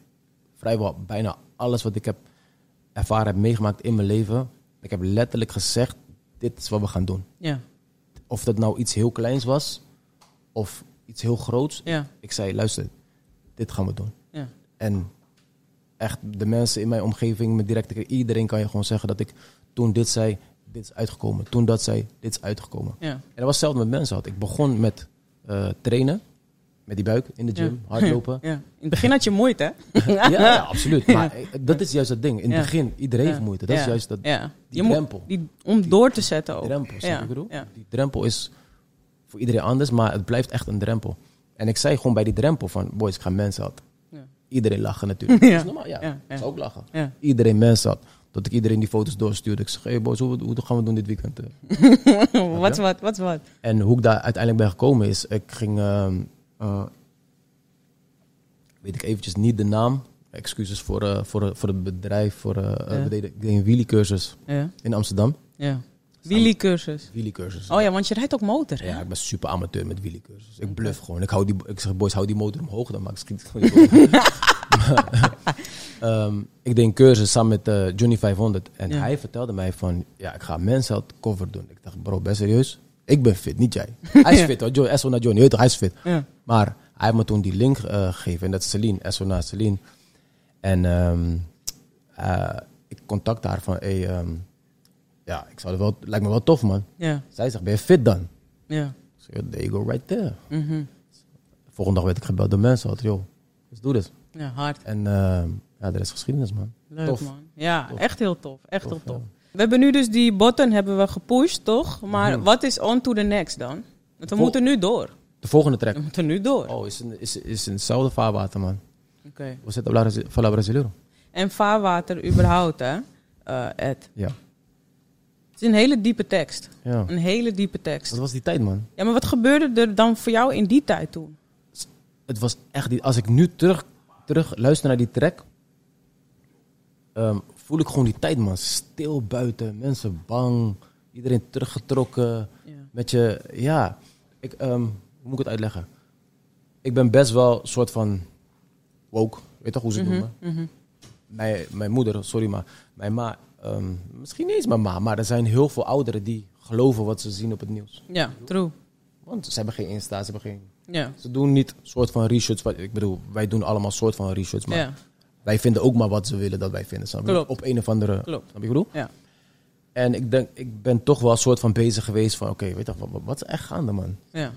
Speaker 2: vrijwel bijna alles wat ik heb ervaren, heb meegemaakt in mijn leven. Ik heb letterlijk gezegd, dit is wat we gaan doen.
Speaker 1: Ja,
Speaker 2: Of dat nou iets heel kleins was, of iets heel groots.
Speaker 1: ja,
Speaker 2: Ik zei, luister, dit gaan we doen.
Speaker 1: ja.
Speaker 2: En echt de mensen in mijn omgeving, mijn directe, iedereen kan je gewoon zeggen dat ik toen dit zei, dit is uitgekomen. Toen dat zei, dit is uitgekomen.
Speaker 1: ja.
Speaker 2: En dat was hetzelfde met mensen had. Ik begon met eh, trainen, met die buik in de gym, hardlopen.
Speaker 1: Ja. In het begin had je moeite, hè?
Speaker 2: Ja, ja, absoluut. Maar eh, dat is juist het ding. In het
Speaker 1: Ja.
Speaker 2: begin, iedereen heeft
Speaker 1: Ja.
Speaker 2: moeite. Dat
Speaker 1: Ja.
Speaker 2: is juist dat
Speaker 1: ja. Je
Speaker 2: die
Speaker 1: moet-
Speaker 2: drempel.
Speaker 1: die, om door te zetten ook.
Speaker 2: drempel. snap je
Speaker 1: ja.
Speaker 2: wat ik bedoel?
Speaker 1: Ja.
Speaker 2: Die drempel is voor iedereen anders, maar het blijft echt een drempel. En ik zei gewoon bij die drempel van, boys, ik ga mensen had.
Speaker 1: Ja.
Speaker 2: Iedereen lachen natuurlijk.
Speaker 1: Ja.
Speaker 2: Dat is normaal, ja.
Speaker 1: Ja, ja.
Speaker 2: Ik zou ook lachen.
Speaker 1: Ja.
Speaker 2: Iedereen mensen had. Dat ik iedereen die foto's doorstuurde. Ik zeg, hey boys, hoe, hoe gaan we doen dit weekend? eh?
Speaker 1: wat, wat, wat, wat.
Speaker 2: En hoe ik daar uiteindelijk ben gekomen is, ik ging, ehm, eh, weet ik eventjes niet de naam, excuses voor, eh, voor, voor het bedrijf, voor, eh, eh,
Speaker 1: Ja.
Speaker 2: we deden, ik deed een wielicursus
Speaker 1: Ja,
Speaker 2: in Amsterdam.
Speaker 1: ja. Wheelie-cursus.
Speaker 2: Wielicursus.
Speaker 1: Oh ja, want je rijdt ook motor, hè?
Speaker 2: Ja, ik ben super amateur met wielicursus. Ik bluff gewoon. Ik, hou die, ik zeg, boys, hou die motor omhoog, dan maak ik schiet ik gewoon die motor omhoog. Maar, ehm, ik deed een cursus samen met eh, Johnny 500. En
Speaker 1: Ja.
Speaker 2: hij vertelde mij van, ja, ik ga mensen het cover doen. Ik dacht, bro, ben serieus? Ik ben fit, niet jij. Hij is fit hoor, Jo- SO naar Johnny, weet toch, hij is fit.
Speaker 1: Ja.
Speaker 2: Maar hij heeft me toen die link eh, gegeven. En dat is Celine, SO naar Celine. En ehm, eh, ik contact haar van, hey, ehm, ja, ik zou het wel, lijkt me wel tof man.
Speaker 1: Ja,
Speaker 2: Zij zegt, ben je fit dan?
Speaker 1: ja.
Speaker 2: Ik zeg, there you go right there.
Speaker 1: Mhm.
Speaker 2: Volgende dag werd ik gebeld door mensen. Had, joh, let's do this.
Speaker 1: Ja, hard.
Speaker 2: En eh, ja, de rest is geschiedenis, man.
Speaker 1: Leuk
Speaker 2: Tof.
Speaker 1: man. Ja,
Speaker 2: Tof.
Speaker 1: echt heel tof. Echt
Speaker 2: Tof,
Speaker 1: heel tof.
Speaker 2: ja.
Speaker 1: We hebben nu dus die botten hebben we gepusht, toch? Maar wat is on to the next dan? Want we
Speaker 2: Mhm. Vol-
Speaker 1: moeten nu door.
Speaker 2: De volgende track.
Speaker 1: We moeten nu door.
Speaker 2: Oh, is in, is, is in hetzelfde vaarwater, man.
Speaker 1: Oké.
Speaker 2: We zitten op Brazil- Fala Brasileiro.
Speaker 1: En vaarwater überhaupt, hè? Eh, Ed.
Speaker 2: Ja.
Speaker 1: Het is een hele diepe tekst.
Speaker 2: ja.
Speaker 1: Een hele diepe
Speaker 2: Dat
Speaker 1: tekst.
Speaker 2: was die tijd, man.
Speaker 1: Ja, maar wat gebeurde er dan voor jou in die tijd toen?
Speaker 2: Het was echt die... Als ik nu terug, terug luister naar die track... ehm, voel ik gewoon die tijd, man. Stil buiten, mensen bang. Iedereen teruggetrokken.
Speaker 1: Ja.
Speaker 2: Met je, ja, ik, ehm, hoe moet ik het uitleggen? Ik ben best wel een soort van woke, weet toch hoe ze het
Speaker 1: Mhm,
Speaker 2: noemen? Mijn, mijn moeder, sorry maar, mijn ma, ehm, misschien niet eens mijn ma, maar er zijn heel veel ouderen die geloven wat ze zien op het nieuws.
Speaker 1: Ja, true.
Speaker 2: Want ze hebben geen Insta, ze hebben geen...
Speaker 1: Ja.
Speaker 2: Ze doen niet soort van research, wat, ik bedoel, wij doen allemaal soort van research, maar
Speaker 1: Ja.
Speaker 2: wij vinden ook maar wat ze willen dat wij vinden. snap je?
Speaker 1: Klopt.
Speaker 2: Op een of andere...
Speaker 1: Klopt.
Speaker 2: Snap je wat ik bedoel?
Speaker 1: Ja.
Speaker 2: En ik denk, ik ben toch wel een soort van bezig geweest van, oké, weet je wat, wat- wat is er echt gaande, man?
Speaker 1: Ja.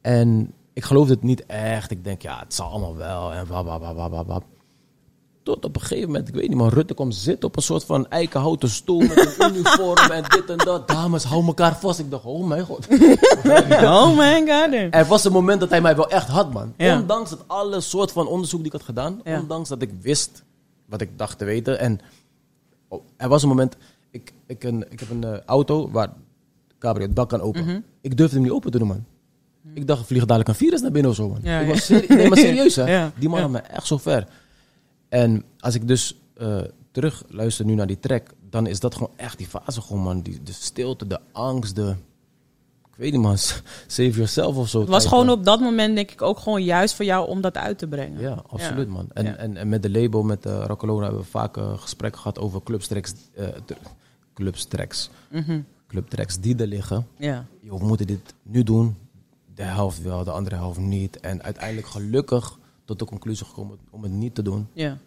Speaker 2: En ik geloofde het niet echt. Ik denk, ja, het zal allemaal wel. En wap, wap, wap, wap, wap, wap. Tot op een gegeven moment, ik weet niet, maar Rutte komt zitten op een soort van eikenhouten stoel met een uniform en dit en dat. Dames, hou elkaar vast. Ik dacht, oh mijn god.
Speaker 1: Oh my god.
Speaker 2: Er was een moment dat hij mij wel echt had, man.
Speaker 1: Ja.
Speaker 2: Ondanks het alle soort van onderzoek die ik had gedaan.
Speaker 1: Ja.
Speaker 2: Ondanks dat ik wist wat ik dacht te weten. En oh, er was een moment, ik, ik, een, ik heb een eh, auto waar cabrio het dak kan open.
Speaker 1: Mhm.
Speaker 2: Ik durfde hem niet open te doen, man. Ik dacht, er vliegt dadelijk een virus naar binnen of zo, man.
Speaker 1: Ja,
Speaker 2: ik
Speaker 1: ja.
Speaker 2: was serie- nee, maar serieus, hè.
Speaker 1: Ja,
Speaker 2: Die man
Speaker 1: ja.
Speaker 2: had me echt zo ver. En als ik dus eh, terug luister nu naar die track, dan is dat gewoon echt die fase, gewoon, man. Die, de stilte, de angst, de... Ik weet niet, man. Save yourself of zo.
Speaker 1: Het was
Speaker 2: type,
Speaker 1: gewoon
Speaker 2: man.
Speaker 1: op dat moment denk ik ook gewoon juist voor jou om dat uit te brengen.
Speaker 2: Ja, absoluut,
Speaker 1: Ja.
Speaker 2: man. En,
Speaker 1: Ja.
Speaker 2: en, en met de label, met eh Roccolona, hebben we vaak eh, gesprekken gehad over clubstracks, eh, ter- clubstracks,
Speaker 1: Mhm.
Speaker 2: clubtracks die er liggen.
Speaker 1: Ja.
Speaker 2: Joh, we moeten dit nu doen. De helft wel, de andere helft niet. En uiteindelijk gelukkig tot de conclusie gekomen om het niet te doen.
Speaker 1: Ja.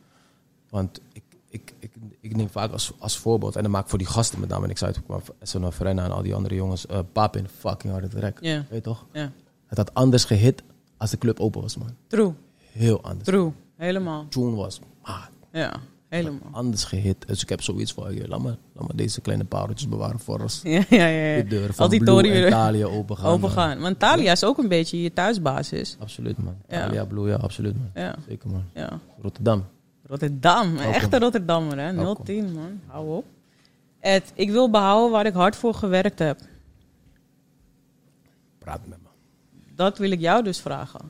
Speaker 2: Want ik, ik, ik, ik neem vaak als, als voorbeeld, en dan maak ik voor die gasten met name, en ik zei het ook, maar Sona Verena en al die andere jongens, eh Papin, fucking harde track.
Speaker 1: Ja.
Speaker 2: Weet je toch?
Speaker 1: Ja.
Speaker 2: Het had anders gehit als de club open was, man.
Speaker 1: True.
Speaker 2: Heel anders.
Speaker 1: True. Helemaal.
Speaker 2: Tune was, maar
Speaker 1: Ja. helemaal.
Speaker 2: Anders gehit. Dus ik heb zoiets van, "Hey, laat maar, laat maar deze kleine pareltjes bewaren voor als
Speaker 1: Ja, ja, ja.
Speaker 2: de
Speaker 1: ja.
Speaker 2: deur
Speaker 1: Al
Speaker 2: van
Speaker 1: die
Speaker 2: Blue
Speaker 1: toren
Speaker 2: en
Speaker 1: weer
Speaker 2: Thalia open gaan. eh,
Speaker 1: open gaan. Want Thalia is ook een beetje je thuisbasis.
Speaker 2: Absoluut man.
Speaker 1: Ja.
Speaker 2: Thalia, Blue, ja, absoluut man.
Speaker 1: Ja,
Speaker 2: Zeker man.
Speaker 1: ja.
Speaker 2: Rotterdam.
Speaker 1: Rotterdam, een
Speaker 2: Welkom.
Speaker 1: echte Rotterdammer hè.
Speaker 2: Welkom.
Speaker 1: 010 man, hou op. Ed, ik wil behouden waar ik hard voor gewerkt heb.
Speaker 2: Praat met me.
Speaker 1: Dat wil ik jou dus vragen.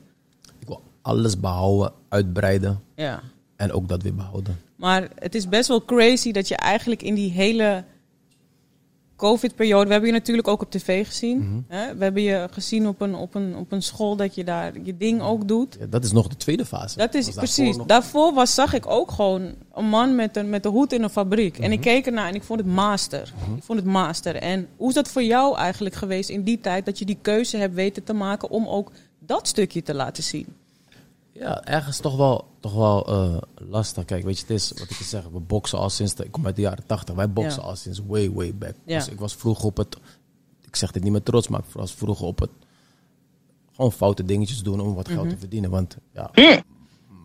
Speaker 2: Ik wil alles behouden, uitbreiden
Speaker 1: Ja.
Speaker 2: en ook dat weer behouden.
Speaker 1: Maar het is best wel crazy dat je eigenlijk in die hele COVID-periode. We hebben je natuurlijk ook op tv gezien.
Speaker 2: Mhm.
Speaker 1: Hè? We hebben je gezien op een, op, een, op een school dat je daar je ding ook doet.
Speaker 2: Ja, dat is nog de tweede fase.
Speaker 1: Dat is
Speaker 2: Was daarvoor
Speaker 1: precies.
Speaker 2: nog-
Speaker 1: Daarvoor was, zag ik ook gewoon een man met een, met een hoed in een fabriek. En
Speaker 2: Mhm.
Speaker 1: ik keek ernaar en ik vond het master. Ik vond het master. En hoe is dat voor jou eigenlijk geweest in die tijd dat je die keuze hebt weten te maken om ook dat stukje te laten zien?
Speaker 2: Ja, ergens toch wel, toch wel eh, lastig. Kijk, weet je, het is wat ik je zeg. We boksen al sinds, de- ik kom uit de jaren 80. Wij boksen
Speaker 1: Ja.
Speaker 2: al sinds way, way back.
Speaker 1: Ja.
Speaker 2: Dus ik was vroeg op het, ik zeg dit niet met trots, maar ik was vroeg op het, gewoon foute dingetjes doen om wat geld
Speaker 1: Mhm.
Speaker 2: te verdienen. Want ja,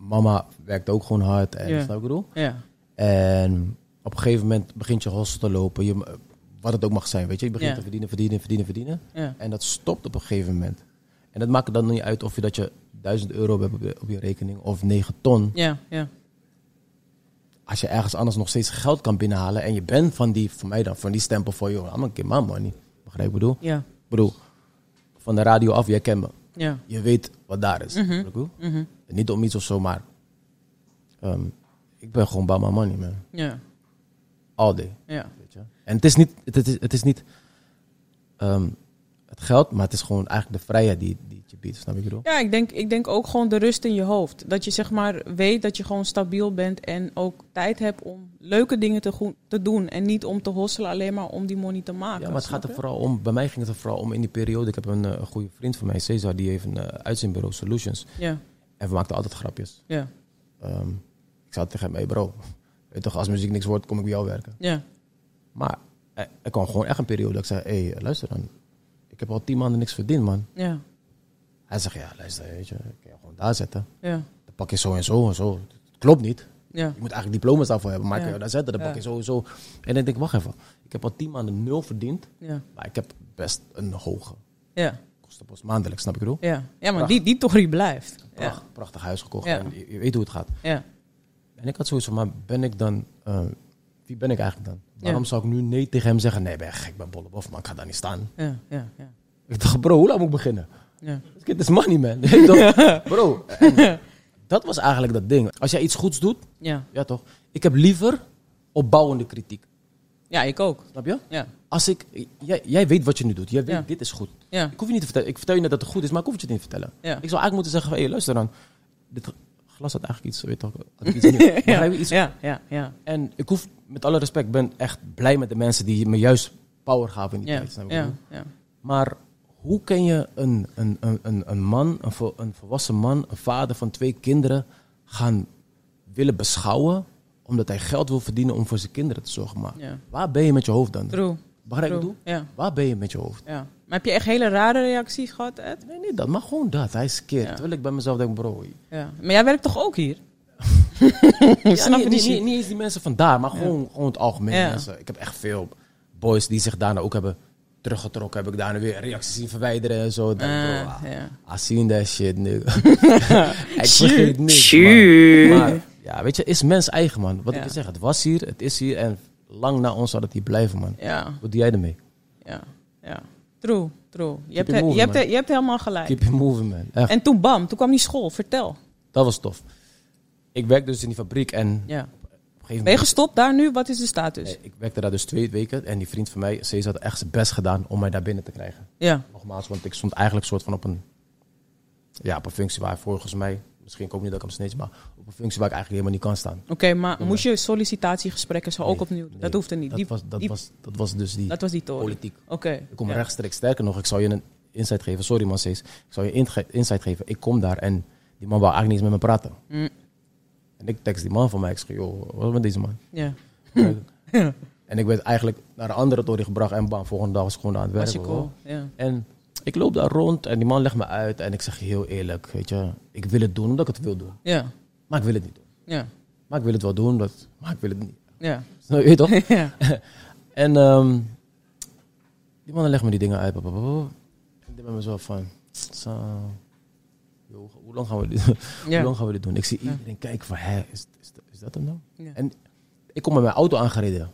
Speaker 2: mama werkt ook gewoon hard en
Speaker 1: Ja.
Speaker 2: snap je wat ik bedoel?
Speaker 1: Ja.
Speaker 2: En op een gegeven moment begint je hostel te lopen. Je, wat het ook mag zijn, weet je. Je begint
Speaker 1: Ja.
Speaker 2: te verdienen, verdienen, verdienen, verdienen.
Speaker 1: Ja.
Speaker 2: En dat stopt op een gegeven moment. En dat maakt het dan niet uit of je dat je 1000 euro hebt op je, op je rekening of 9 ton.
Speaker 1: Ja. Ja.
Speaker 2: Als je ergens anders nog steeds geld kan binnenhalen en je bent van die, voor mij dan, van die stempel voor joh, I'm a kid, my money. Begrijp je wat ik bedoel?
Speaker 1: Ja.
Speaker 2: Ik bedoel, van de radio af, jij kent me.
Speaker 1: Ja.
Speaker 2: Je weet wat daar is.
Speaker 1: Mhm.
Speaker 2: Begrijp je wat ik bedoel? Niet om iets of zo, maar ehm, ik ben gewoon about my money, man.
Speaker 1: Ja.
Speaker 2: All day.
Speaker 1: Ja.
Speaker 2: Weet je? En het is niet, het is, het is niet ehm, het geld, maar het is gewoon eigenlijk de vrijheid die, die het je biedt. Snap je wat ik bedoel?
Speaker 1: Ja, ik denk, ik denk ook gewoon de rust in je hoofd. Dat je zeg maar weet dat je gewoon stabiel bent en ook tijd hebt om leuke dingen te, goe- te doen. En niet om te hosselen alleen maar om die money te maken.
Speaker 2: Ja, maar het
Speaker 1: snap
Speaker 2: gaat er
Speaker 1: je?
Speaker 2: vooral om, bij mij ging het er vooral om in die periode. Ik heb een, eh, een goede vriend van mij, Cesar, die heeft een eh, uitzendbureau Solutions.
Speaker 1: Ja,
Speaker 2: En we maakten altijd grapjes.
Speaker 1: ja,
Speaker 2: Ehm, ik zei tegen hem, hey bro, weet toch, als muziek niks wordt, kom ik bij jou werken.
Speaker 1: ja,
Speaker 2: Maar er, er kwam gewoon echt een periode dat ik zei, hé, hey, eh, luister dan. Ik heb al tien maanden niks verdiend, man.
Speaker 1: ja,
Speaker 2: Hij zegt, ja, luister, weet je, ik kan je gewoon daar zetten.
Speaker 1: ja,
Speaker 2: Dan pak je zo en zo en zo. Het klopt niet.
Speaker 1: ja,
Speaker 2: Je moet eigenlijk diploma's daarvoor hebben, maar ik
Speaker 1: Ja.
Speaker 2: kan je daar zetten, dan
Speaker 1: Ja.
Speaker 2: pak je sowieso. En dan denk ik, wacht even, ik heb al tien maanden nul verdiend,
Speaker 1: ja,
Speaker 2: maar ik heb best een hoge
Speaker 1: ja,
Speaker 2: kostenpost maandelijks, snap ik bedoel?
Speaker 1: ja. Ja, maar
Speaker 2: Pracht.
Speaker 1: die, die Tory blijft. Ja,
Speaker 2: Pracht, Prachtig huis gekocht,
Speaker 1: Ja.
Speaker 2: en je, je weet hoe het gaat.
Speaker 1: ja,
Speaker 2: En ik had sowieso, maar ben ik dan, eh, wie ben ik eigenlijk dan? Waarom zou ik nu nee tegen hem zeggen, nee ben je gek, ik ben bollebof, maar ik ga daar niet staan.
Speaker 1: ja, ja, ja,
Speaker 2: Ik dacht, bro, hoe laat moet ik beginnen?
Speaker 1: ja,
Speaker 2: Dit is money, man. Weet je toch? bro, en dat was eigenlijk dat ding. Als jij iets goeds doet,
Speaker 1: ja.
Speaker 2: ja toch, ik heb liever opbouwende kritiek,
Speaker 1: Ja, ik ook.
Speaker 2: snap je?
Speaker 1: Ja,
Speaker 2: Als ik, jij, jij weet wat je nu doet. Jij weet,
Speaker 1: Ja.
Speaker 2: dit is goed.
Speaker 1: ja,
Speaker 2: Ik hoef je niet te vertellen. Ik vertel je net dat het goed is, maar ik hoef het je niet te vertellen.
Speaker 1: Ja.
Speaker 2: Ik zou eigenlijk moeten zeggen, van, hey, luister dan. Dit glas had eigenlijk iets, weet toch, had ik iets nieuws. Begrijp je? iets.
Speaker 1: ja, ja, ja,
Speaker 2: En ik hoef, met alle respect, ben echt blij met de mensen die me juist power gaven in die
Speaker 1: ja,
Speaker 2: tijd. snap je wat ik
Speaker 1: ja,
Speaker 2: bedoel?
Speaker 1: ja.
Speaker 2: Maar hoe ken je een, een, een, een, een man, een, vo- een volwassen man, een vader van twee kinderen gaan willen beschouwen omdat hij geld wil verdienen om voor zijn kinderen te zorgen? Maar
Speaker 1: Ja.
Speaker 2: waar ben je met je hoofd dan?
Speaker 1: True,
Speaker 2: Begrijp je wat ik
Speaker 1: true.
Speaker 2: bedoel?
Speaker 1: Ja,
Speaker 2: Waar ben je met je hoofd?
Speaker 1: ja. Maar heb je echt hele rare reacties gehad, Ed?
Speaker 2: Nee, niet dat, maar gewoon dat. Hij is keer.
Speaker 1: Ja.
Speaker 2: Terwijl ik bij mezelf denk, bro.
Speaker 1: Ja. Maar jij werkt toch ook hier?
Speaker 2: Ja,
Speaker 1: Snap je
Speaker 2: niet, niet,
Speaker 1: die
Speaker 2: niet, niet eens die mensen vandaar, maar gewoon, gewoon het algemeen.
Speaker 1: Ja.
Speaker 2: Mensen. Ik heb echt veel boys die zich daarna ook hebben teruggetrokken. Heb ik daarna weer reacties zien verwijderen en zo. Dan,
Speaker 1: Eh,
Speaker 2: bro, ah,
Speaker 1: ja.
Speaker 2: I seen that shit nu. ik vergeet niks, man. Maar, ja, weet je, is mens eigen, man. Wat
Speaker 1: Ja.
Speaker 2: ik je zeg, het was hier, het is hier en lang na ons zal het hier blijven, man.
Speaker 1: Ja,
Speaker 2: Wat doe jij ermee?
Speaker 1: ja, ja. True, true. Je hebt,
Speaker 2: it
Speaker 1: he-
Speaker 2: moving,
Speaker 1: je, hebt,
Speaker 2: man.
Speaker 1: he- je hebt helemaal gelijk.
Speaker 2: Keep it moving, man. Echt,
Speaker 1: En toen bam, toen kwam die school. Vertel.
Speaker 2: dat was tof. Ik werk dus in die fabriek en
Speaker 1: Ja.
Speaker 2: op een gegeven
Speaker 1: Ben je
Speaker 2: moment...
Speaker 1: gestopt daar nu? Wat is de status?
Speaker 2: Nee, ik werkte daar dus twee weken en die vriend van mij, Cesar, had echt zijn best gedaan om mij daar binnen te krijgen.
Speaker 1: Ja,
Speaker 2: Nogmaals, want ik stond eigenlijk soort van op een, ja, op een functie waar volgens mij, misschien ik hoop niet dat ik hem snitch, maar op een functie waar ik eigenlijk helemaal niet kan staan.
Speaker 1: oké, maar moest je sollicitatiegesprekken zo ook
Speaker 2: Nee,
Speaker 1: opnieuw doen?
Speaker 2: nee,
Speaker 1: dat hoefde niet.
Speaker 2: Dat,
Speaker 1: Die-
Speaker 2: was, dat,
Speaker 1: die-
Speaker 2: was, dat was dus die
Speaker 1: dat was die toren.
Speaker 2: politiek.
Speaker 1: Oké.
Speaker 2: Ik kom
Speaker 1: ja.
Speaker 2: rechtstreeks, sterker nog, ik zal je een insight geven. Sorry man, Cees. Ik zal je inge- insight geven. Ik kom daar en die man wou eigenlijk niet eens met me praten.
Speaker 1: Mm.
Speaker 2: En ik tekst die man van mij, ik zeg, joh, wat is met deze man?
Speaker 1: Ja.
Speaker 2: En ik werd eigenlijk naar een andere toren gebracht en bam, volgende dag was ik gewoon aan het werk.
Speaker 1: Was je
Speaker 2: hoor.
Speaker 1: cool? Ja.
Speaker 2: En ik loop daar rond en die man legt me uit. En ik zeg je heel eerlijk, weet je, ik wil het doen omdat ik het wil doen.
Speaker 1: Ja.
Speaker 2: Maar ik wil het niet doen.
Speaker 1: Ja.
Speaker 2: Maar Maar ik wil het wel doen, dat, maar ik wil het niet.
Speaker 1: Ja.
Speaker 2: Snap je toch?
Speaker 1: ja.
Speaker 2: En ehm, die mannen leggen me die dingen uit. papa, papa. Ik denk bij mezelf van, zo, joh, hoe lang gaan we dit, hoe
Speaker 1: Ja.
Speaker 2: lang gaan we dit doen? Ik zie
Speaker 1: Ja.
Speaker 2: iedereen kijken van, hè, is, is, is dat hem nou?
Speaker 1: Ja.
Speaker 2: En ik kom met mijn auto aangereden.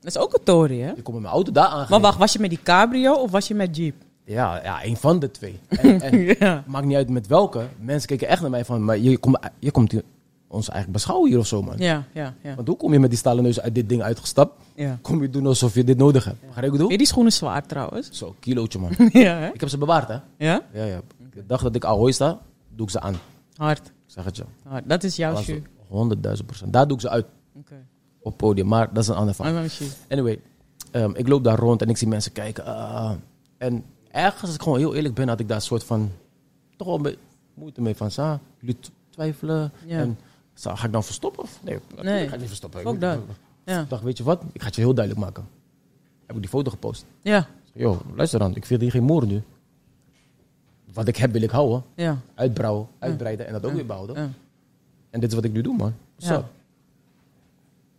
Speaker 1: Dat is ook een tory, hè?
Speaker 2: Ik kom met mijn auto daar aangereden.
Speaker 1: Maar wacht, was je met die cabrio of was je met jeep?
Speaker 2: Ja, ja, een van de twee. En, en
Speaker 1: Ja.
Speaker 2: maakt niet uit met welke. Mensen keken echt naar mij van, maar je, komt- je komt hier- ons eigenlijk beschouwen hier of zo, man.
Speaker 1: Ja, ja, ja.
Speaker 2: Want hoe kom je met die stalen neus uit dit ding uitgestapt?
Speaker 1: ja.
Speaker 2: Kom je doen alsof je dit nodig hebt? Begrijp je wat ik
Speaker 1: Vind je
Speaker 2: bedoel?
Speaker 1: die schoenen zwaar trouwens?
Speaker 2: Zo, kilootje, man.
Speaker 1: ja, hè?
Speaker 2: Ik heb ze bewaard, hè?
Speaker 1: Ja?
Speaker 2: Ja, ja. De dag dat ik Ahoy sta, doe ik ze aan.
Speaker 1: Hard.
Speaker 2: Ik zeg het je.
Speaker 1: Hard. Dat is jouw
Speaker 2: Laatste
Speaker 1: shoe.
Speaker 2: 100.000 procent. Daar doe ik ze uit
Speaker 1: Oké.
Speaker 2: op het podium. Maar dat is een ander
Speaker 1: I'm
Speaker 2: verhaal.
Speaker 1: my shoe.
Speaker 2: Anyway, ehm, ik loop daar rond en ik zie mensen kijken. ah. en ergens, als ik gewoon heel eerlijk ben, had ik daar een soort van... Toch wel een beetje moeite mee van... Sa, jullie t- twijfelen.
Speaker 1: Ja.
Speaker 2: En, sa, ga ik dan verstoppen? Of? Nee, natuurlijk
Speaker 1: Nee.
Speaker 2: ga ik niet verstoppen. Ik
Speaker 1: Fuck
Speaker 2: moet-
Speaker 1: dat. Ja.
Speaker 2: Ik dacht, weet je wat? Ik ga het je heel duidelijk maken. Heb ik die foto gepost.
Speaker 1: Ja,
Speaker 2: Ik zeg, Yo, luister dan. Ik vind hier geen moer nu. Wat ik heb wil ik houden.
Speaker 1: ja.
Speaker 2: Uitbrouwen, uitbreiden en dat ook weer behouden.
Speaker 1: ja.
Speaker 2: En dit is wat ik nu doe, man. What's
Speaker 1: Ja.
Speaker 2: up?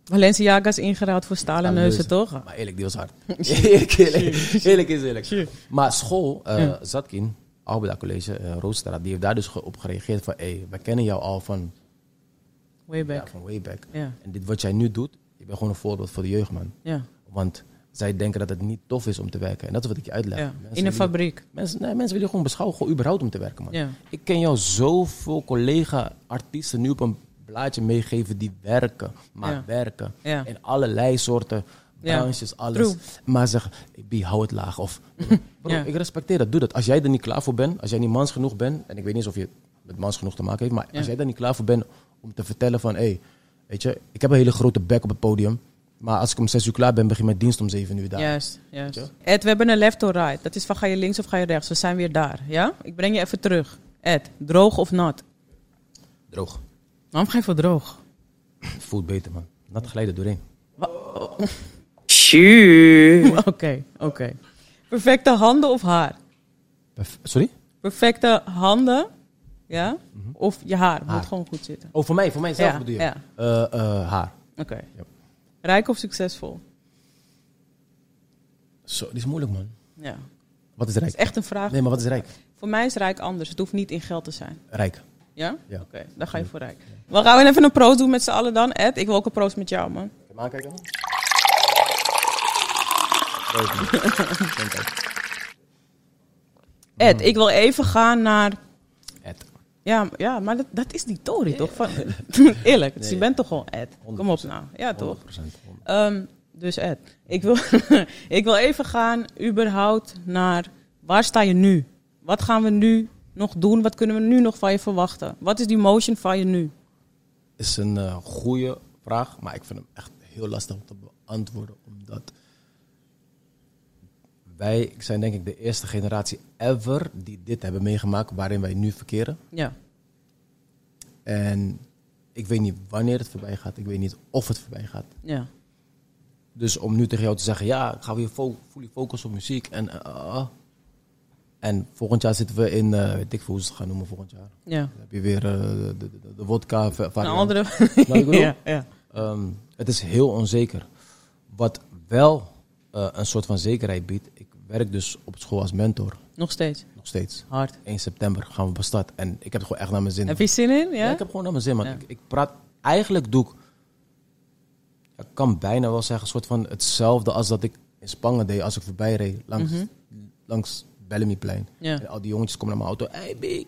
Speaker 1: Valenciaga is ingeruild voor stalen
Speaker 2: Stalen
Speaker 1: neuzen,
Speaker 2: neuzen.
Speaker 1: toch?
Speaker 2: Maar eerlijk, die was hard. eerlijk, eerlijk, eerlijk is eerlijk.
Speaker 1: Sure.
Speaker 2: Maar school, eh, Zatkin, Alberda College, eh Roodstraat, die heeft daar dus ge- op gereageerd van... hé, wij kennen jou al van,
Speaker 1: Way
Speaker 2: ja,
Speaker 1: back.
Speaker 2: van way back.
Speaker 1: Ja.
Speaker 2: En dit wat jij nu doet, je bent gewoon een voorbeeld voor de jeugd, man.
Speaker 1: Ja.
Speaker 2: Want zij denken dat het niet tof is om te werken. En dat is wat ik je uitleg.
Speaker 1: ja.
Speaker 2: Mensen
Speaker 1: In een
Speaker 2: willen-
Speaker 1: fabriek.
Speaker 2: Mensen, nee, mensen willen gewoon beschouwen, gewoon überhaupt om te werken, man.
Speaker 1: Ja.
Speaker 2: Ik ken jou zoveel collega-artiesten nu op een blaadje meegeven die werken, maar
Speaker 1: Ja.
Speaker 2: werken.
Speaker 1: Ja.
Speaker 2: In allerlei soorten,
Speaker 1: Ja.
Speaker 2: branches, alles.
Speaker 1: True.
Speaker 2: Maar zeggen, ik bie, hou het laag. Of, bro,
Speaker 1: Ja.
Speaker 2: ik respecteer dat, doe dat. Als jij er niet klaar voor bent, als jij niet mans genoeg bent... en ik weet niet eens of je het met mans genoeg te maken heeft... maar
Speaker 1: Ja.
Speaker 2: als jij er niet klaar voor bent om te vertellen van... hey, weet je, ik heb een hele grote bek op het podium... maar als ik om zes uur klaar ben, begin mijn dienst om zeven uur daar.
Speaker 1: Juist, juist.
Speaker 2: Weet
Speaker 1: Ed, we hebben een left or right. Dat is van ga je links of ga je rechts. We zijn weer daar, ja? Ik breng je even terug. Ed, droog of nat?
Speaker 2: Droog.
Speaker 1: Waarom ga je voor droog?
Speaker 2: Voelt beter, man. Nat glijden doorheen.
Speaker 1: Oké, oké. Perfecte handen of haar?
Speaker 2: Perf- Sorry?
Speaker 1: Perfecte handen, ja? Of je haar,
Speaker 2: Mhm. Haar.
Speaker 1: moet gewoon goed zitten.
Speaker 2: Oh, voor mij, voor mijzelf
Speaker 1: Ja,
Speaker 2: bedoel je?
Speaker 1: ja.
Speaker 2: Eh, eh, haar.
Speaker 1: Oké.
Speaker 2: Ja.
Speaker 1: Rijk of succesvol?
Speaker 2: Zo, dit is moeilijk, man.
Speaker 1: Ja.
Speaker 2: Wat is
Speaker 1: Dat
Speaker 2: rijk?
Speaker 1: is echt een vraag.
Speaker 2: Nee, maar wat is rijk?
Speaker 1: Voor mij is rijk anders. Het hoeft niet in geld te zijn.
Speaker 2: Rijk.
Speaker 1: Ja?
Speaker 2: Ja.
Speaker 1: Oké, dan ga je voor rijk. We gaan even een proost doen met z'n allen dan. Ed, ik wil ook een proost met jou, man.
Speaker 2: Kan je aankijken?
Speaker 1: Ed, ik wil even gaan naar...
Speaker 2: Ed.
Speaker 1: Ja, ja maar dat, dat is die Tory, toch? Van, eerlijk, dus je bent toch gewoon Ed? Kom op nou. Ja, toch?
Speaker 2: 100%.
Speaker 1: Ehm, dus Ed, ik wil, ik wil even gaan überhaupt naar... Waar sta je nu? Wat gaan we nu nog doen? Wat kunnen we nu nog van je verwachten? Wat is die motion van je nu?
Speaker 2: Is een eh goede vraag, maar ik vind hem echt heel lastig om te beantwoorden. Omdat wij zijn denk ik de eerste generatie ever die dit hebben meegemaakt waarin wij nu verkeren.
Speaker 1: Ja,
Speaker 2: En ik weet niet wanneer het voorbij gaat. Ik weet niet of het voorbij gaat.
Speaker 1: ja,
Speaker 2: Dus om nu tegen jou te zeggen, ja, gaan we hier fo- fully focussen op muziek. En, eh, ah, ah. en volgend jaar zitten we in, eh, weet ik veel hoe ze het gaan noemen volgend jaar.
Speaker 1: ja.
Speaker 2: Dan heb je weer eh, de, de, de, de vodka va-
Speaker 1: Een
Speaker 2: variant.
Speaker 1: andere...
Speaker 2: Snap je wat ik bedoel?
Speaker 1: ja, ja.
Speaker 2: Ehm, het is heel onzeker. Wat wel eh, een soort van zekerheid biedt, ik werk dus op school als mentor,
Speaker 1: Nog steeds.
Speaker 2: nog steeds.
Speaker 1: Hard.
Speaker 2: 1 september gaan we op stad en ik heb het gewoon echt naar mijn zin.
Speaker 1: Heb je zin in? Ja?
Speaker 2: Ja, ik heb gewoon naar mijn zin, man.
Speaker 1: Ja.
Speaker 2: Ik, ik praat, eigenlijk doe ik, ja, ik kan bijna wel zeggen, een soort van hetzelfde als dat ik in Spangen deed als ik voorbij reed langs, langs Bellamyplein.
Speaker 1: Mhm. Ja.
Speaker 2: En al die jongetjes komen naar mijn auto. Hey, B, ik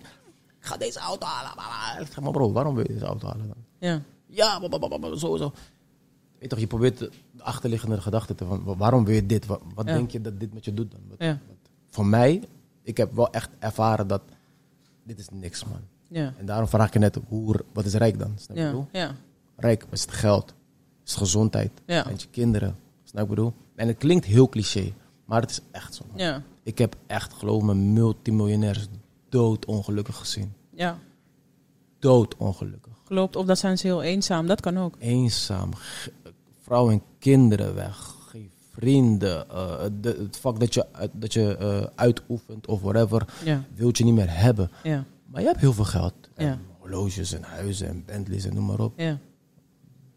Speaker 2: ga deze auto halen. bla, bla. Ik zeg maar, bro, waarom wil je deze auto halen dan?
Speaker 1: Ja.
Speaker 2: Ja, bla, bla, bla, bla, zo, zo. Weet toch, je probeert de achterliggende gedachte te van, wa- waarom wil je dit? Wat, wat
Speaker 1: Ja.
Speaker 2: denk je dat dit met je doet dan? Wat-
Speaker 1: Ja.
Speaker 2: Voor mij, ik heb wel echt ervaren dat dit is niks, man.
Speaker 1: Ja.
Speaker 2: En daarom vraag ik je net, hoe, wat is rijk dan? Snap je wat ik
Speaker 1: Ja.
Speaker 2: bedoel?
Speaker 1: Ja.
Speaker 2: Rijk is het geld, is het gezondheid,
Speaker 1: Ja.
Speaker 2: met je kinderen. Snap je wat ik bedoel? En het klinkt heel cliché, maar het is echt zo. man.
Speaker 1: Ja.
Speaker 2: Ik heb echt, geloof me, multimiljonairs doodongelukkig gezien.
Speaker 1: Ja.
Speaker 2: Doodongelukkig.
Speaker 1: Klopt. Of dat zijn ze heel eenzaam. Dat kan ook.
Speaker 2: Eenzaam, ge- vrouw en kinderen weg, geen vrienden. eh, de- het vak dat je, uit- dat je eh, uitoefent of whatever,
Speaker 1: Ja.
Speaker 2: wilt je niet meer hebben.
Speaker 1: Ja.
Speaker 2: Maar je hebt heel veel geld. En
Speaker 1: Ja.
Speaker 2: Horloges en huizen en Bentleys en noem maar op.
Speaker 1: Ja.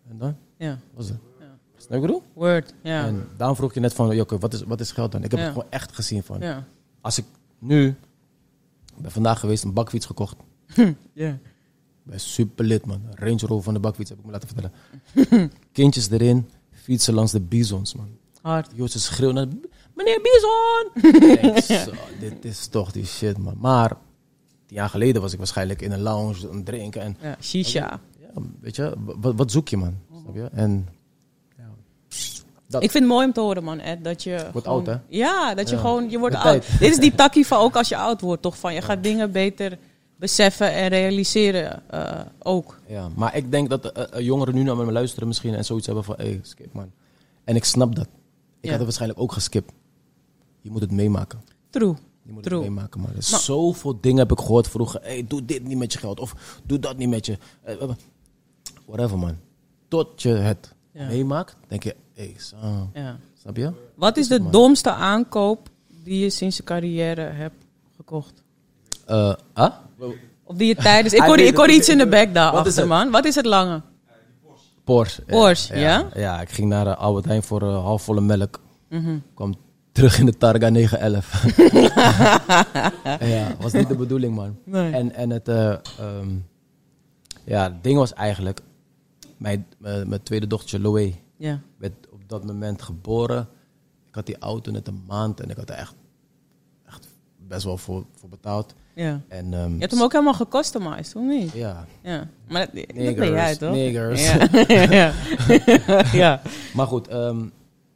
Speaker 2: En dan?
Speaker 1: Ja.
Speaker 2: Was het.
Speaker 1: Ja.
Speaker 2: Snap je wat ik bedoel?
Speaker 1: Word, ja.
Speaker 2: En daarom vroeg ik je net van, Jokke, wat is, wat is geld dan? Ik heb
Speaker 1: Ja.
Speaker 2: het gewoon echt gezien van.
Speaker 1: ja.
Speaker 2: Als ik nu, ik ben vandaag geweest, een bakfiets gekocht.
Speaker 1: ja.
Speaker 2: Ik ben super lid, man. Range Rover van de bakfiets, heb ik me laten vertellen. Kindjes erin, fietsen langs de bisons, man.
Speaker 1: Hard.
Speaker 2: Joost ze schreeuwen naar meneer Bison. Ik denk, zo, dit is toch die shit, man. Maar tien jaar geleden was ik waarschijnlijk in een lounge aan het drinken. En,
Speaker 1: Ja. Shisha.
Speaker 2: ja, weet je, wa- wat, wat zoek je, man? Snap je? En Dat-
Speaker 1: Ik vind het mooi om te horen, man, Ed, dat je... Wordt
Speaker 2: oud, hè?
Speaker 1: Ja, dat je
Speaker 2: Ja.
Speaker 1: gewoon... Je wordt
Speaker 2: Met
Speaker 1: oud.
Speaker 2: tijd.
Speaker 1: Dit is die takkie van ook als je oud wordt, toch? Van, je gaat dingen beter beseffen en realiseren eh, ook.
Speaker 2: ja, maar ik denk dat eh, eh, jongeren nu naar me luisteren misschien en zoiets hebben van, hey, skip, man. En ik snap dat. Ik
Speaker 1: Ja.
Speaker 2: had het waarschijnlijk ook geskipt. Je moet het meemaken.
Speaker 1: True.
Speaker 2: Je moet
Speaker 1: True.
Speaker 2: het meemaken, man. Er is
Speaker 1: Maar-
Speaker 2: Zoveel dingen heb ik gehoord vroeger. Hey, doe dit niet met je geld. Of doe dat niet met je. Eh, eh, Whatever, man. Tot je het
Speaker 1: Ja.
Speaker 2: meemaakt, denk je... Hey, zo.
Speaker 1: Ja.
Speaker 2: Snap je?
Speaker 1: Wat is de domste aankoop die je sinds je carrière hebt gekocht?
Speaker 2: Eh, ah?
Speaker 1: Of die je tijdens... Ik
Speaker 2: Hij
Speaker 1: hoor,
Speaker 2: weet
Speaker 1: ik hoor
Speaker 2: het.
Speaker 1: iets in de back daar
Speaker 2: Wat is
Speaker 1: achter,
Speaker 2: het?
Speaker 1: man. Wat is het lange?
Speaker 2: Porsche.
Speaker 1: Porsche, ja?
Speaker 2: ja? Ja, ik ging naar eh, Albert Heijn voor eh, halfvolle melk.
Speaker 1: Mhm.
Speaker 2: Kwam terug in de Targa 911. ja, was niet de bedoeling, man.
Speaker 1: Nee.
Speaker 2: En, en het... eh, ehm, ja, het ding was eigenlijk... Mijn, eh, mijn tweede dochtertje, Loé...
Speaker 1: Ja.
Speaker 2: werd op dat moment geboren. Ik had die auto net een maand en ik had er echt, echt best wel voor, voor betaald.
Speaker 1: Ja.
Speaker 2: En, ehm,
Speaker 1: Je hebt hem ook helemaal gecustomized, of niet?
Speaker 2: Ja,
Speaker 1: Ja. Maar dat, dat
Speaker 2: Niggers,
Speaker 1: ben jij, toch?
Speaker 2: niggers.
Speaker 1: Ja. ja. ja.
Speaker 2: maar goed. ehm,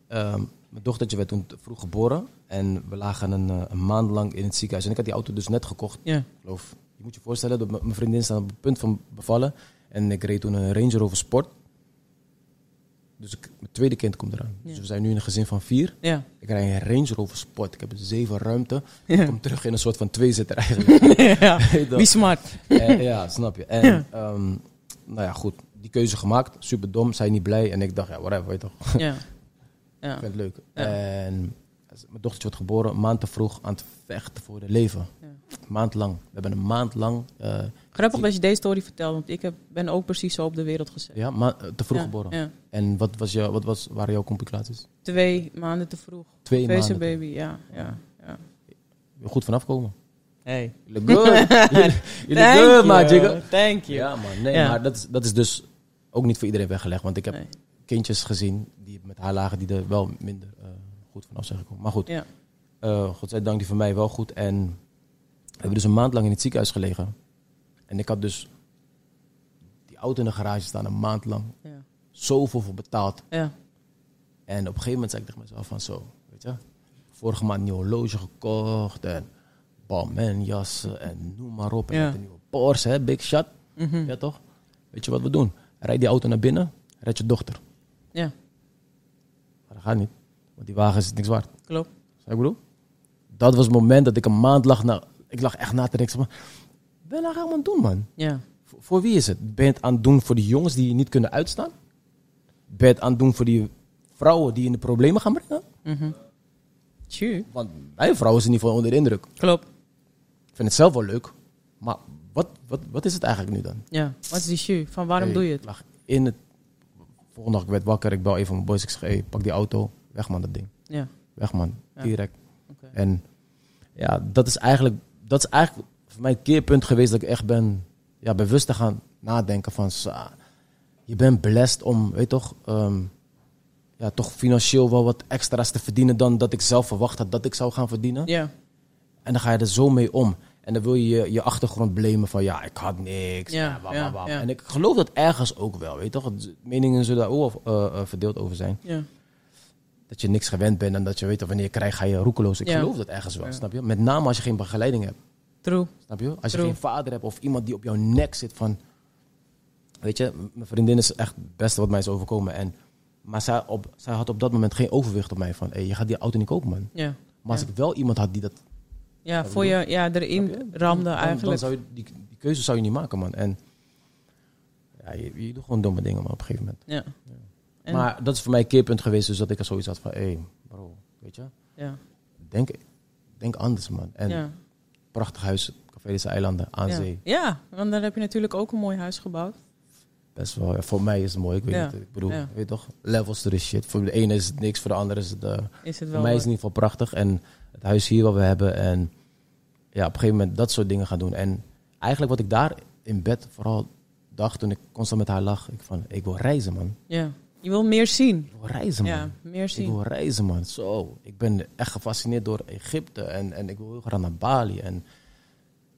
Speaker 2: ehm, mijn dochtertje werd toen te vroeg geboren. En we lagen een, eh, een maand lang in het ziekenhuis. En ik had die auto dus net gekocht.
Speaker 1: Ja.
Speaker 2: Ik geloof, je moet je voorstellen, dat m- mijn vriendin staat op het punt van bevallen. En ik reed toen een Range Rover Sport. Dus ik, mijn tweede kind komt eraan. Dus we zijn nu in een gezin van vier.
Speaker 1: Ja.
Speaker 2: Ik rij een Range Rover Sport. Ik heb zeven ruimte.
Speaker 1: Ja.
Speaker 2: Ik kom terug in een soort van tweezitter eigenlijk.
Speaker 1: ja.
Speaker 2: Weet je
Speaker 1: Wie smart.
Speaker 2: wel. Eh, ja, snap je. En, ehm, nou ja, goed. Die keuze gemaakt. Super dom. Zij niet blij. En ik dacht, ja, whatever, weet je toch.
Speaker 1: Ja. Ja.
Speaker 2: Ik vind het leuk. En mijn dochtertje wordt geboren. Een maand te vroeg aan het vechten voor haar leven.
Speaker 1: Ja.
Speaker 2: Maand lang. We hebben een maand lang... eh,
Speaker 1: Grappig dat je deze story vertelt, want ik heb, ben ook precies zo op de wereld gezet.
Speaker 2: ja, ma- eh, te vroeg
Speaker 1: Ja,
Speaker 2: geboren.
Speaker 1: ja.
Speaker 2: En wat, was jou, wat was, waren jouw complicaties?
Speaker 1: Twee maanden te vroeg.
Speaker 2: Twee
Speaker 1: Face
Speaker 2: maanden.
Speaker 1: baby, ja. ja, ja.
Speaker 2: Goed vanaf komen.
Speaker 1: Hey.
Speaker 2: Jullie good. Jullie- Jullie good, man. jigga.
Speaker 1: Thank you.
Speaker 2: Ja, man. Nee,
Speaker 1: Ja.
Speaker 2: maar dat is, dat is dus ook niet voor iedereen weggelegd. Want ik heb
Speaker 1: Nee.
Speaker 2: kindjes gezien die met haar lagen die er wel minder eh, goed vanaf zijn gekomen. Maar goed,
Speaker 1: Ja.
Speaker 2: eh, godzijdank die van mij wel goed. En we hebben dus een maand lang in het ziekenhuis gelegen. En ik had dus die auto in de garage staan een maand lang.
Speaker 1: Ja.
Speaker 2: Zoveel voor betaald.
Speaker 1: Ja.
Speaker 2: En op een gegeven moment zei ik tegen mezelf van zo, weet je. Vorige maand een nieuw horloge gekocht en Balmain-jassen en noem maar op. En
Speaker 1: Ja.
Speaker 2: met een nieuwe Porsche, hè, big shot. Ja toch? Weet je wat we doen? Rijd die auto naar binnen, red je dochter.
Speaker 1: ja,
Speaker 2: Maar dat gaat niet, want die wagen is niks waard.
Speaker 1: klopt.
Speaker 2: Snap je wat ik bedoel? Dat was het moment dat ik een maand lag, na, ik lag echt na te denken. van, Ben je nou aan het doen, man?
Speaker 1: Ja.
Speaker 2: Voor, voor wie is het? Ben je het aan het doen voor die jongens die je niet kunnen uitstaan? Ben je het aan het doen voor die vrouwen die je in de problemen gaan brengen?
Speaker 1: Tju.
Speaker 2: Want mijn vrouw is in ieder geval onder de indruk.
Speaker 1: Klopt.
Speaker 2: Ik vind het zelf wel leuk. Maar wat, wat, wat is het eigenlijk nu dan?
Speaker 1: Ja. Wat is die tju? Van waarom
Speaker 2: Hey,
Speaker 1: doe je het?
Speaker 2: Ik lag in het... Volgende dag, ik werd wakker. Ik bel even mijn boys. Ik zeg, hey, pak die auto. Weg man, dat ding.
Speaker 1: Ja.
Speaker 2: Weg man. Direct.
Speaker 1: Oké.
Speaker 2: En ja, dat is eigenlijk... Dat is eigenlijk voor mij het keerpunt geweest dat ik echt ben... Ja, bewust te gaan nadenken van... sa, je bent blessed om, weet je toch... ehm, ja, toch financieel wel wat extra's te verdienen dan dat ik zelf verwacht had dat ik zou gaan verdienen.
Speaker 1: Ja.
Speaker 2: En dan ga je er zo mee om. En dan wil je je, je achtergrond blamen van ja, ik had niks.
Speaker 1: Ja,
Speaker 2: Ja,
Speaker 1: ja, ja.
Speaker 2: En ik geloof dat ergens ook wel, weet je toch? Het- Meningen zullen daar ook wel, eh, eh, verdeeld over zijn.
Speaker 1: Ja.
Speaker 2: Dat je niks gewend bent en dat je weet dat wanneer je krijgt, ga je roekeloos. Ik
Speaker 1: Ja.
Speaker 2: geloof dat ergens wel, snap je? Met name als je geen begeleiding hebt,
Speaker 1: True.
Speaker 2: snap je? Als je
Speaker 1: True.
Speaker 2: geen vader hebt of iemand die op jouw nek zit van... Weet je, m- mijn vriendin is echt het beste wat mij is overkomen. En, maar zij, op, zij had op dat moment geen overwicht op mij van... Hé, je gaat die auto niet kopen, man.
Speaker 1: Ja.
Speaker 2: Maar als ik wel iemand had die dat
Speaker 1: Ja, voor je ja, erin ramde
Speaker 2: dan-
Speaker 1: eigenlijk.
Speaker 2: Dan zou je, die, die keuze zou je niet maken, man. En ja, je, je doet gewoon domme dingen, man, op een gegeven moment.
Speaker 1: Ja. En-
Speaker 2: Maar dat is voor mij een keerpunt geweest, dus dat ik er zoiets had van, hé, hey, bro, weet je,
Speaker 1: Ja.
Speaker 2: denk, denk anders, man. En
Speaker 1: ja.
Speaker 2: prachtig huis, Café deze Eilanden, aan
Speaker 1: ja.
Speaker 2: zee.
Speaker 1: Ja, want daar heb je natuurlijk ook een mooi huis gebouwd.
Speaker 2: best wel, ja, voor mij is het mooi. Ik weet
Speaker 1: Ja,
Speaker 2: niet, ik bedoel,
Speaker 1: ja.
Speaker 2: weet je toch, levels to this shit. Voor de ene is het niks, voor de ander is het... eh,
Speaker 1: Is het
Speaker 2: voor
Speaker 1: wel...
Speaker 2: mij is het in ieder geval prachtig. En het huis hier wat we hebben. En ja, op een gegeven moment dat soort dingen gaan doen. En eigenlijk wat ik daar in bed vooral dacht toen ik constant met haar lag. Ik van, ik wil reizen man.
Speaker 1: Ja. Je wil meer zien.
Speaker 2: Ik wil reizen man.
Speaker 1: Ja, meer
Speaker 2: Ik
Speaker 1: zien.
Speaker 2: wil reizen, man. Zo. Ik ben echt gefascineerd door Egypte. En, en ik wil heel graag naar Bali. En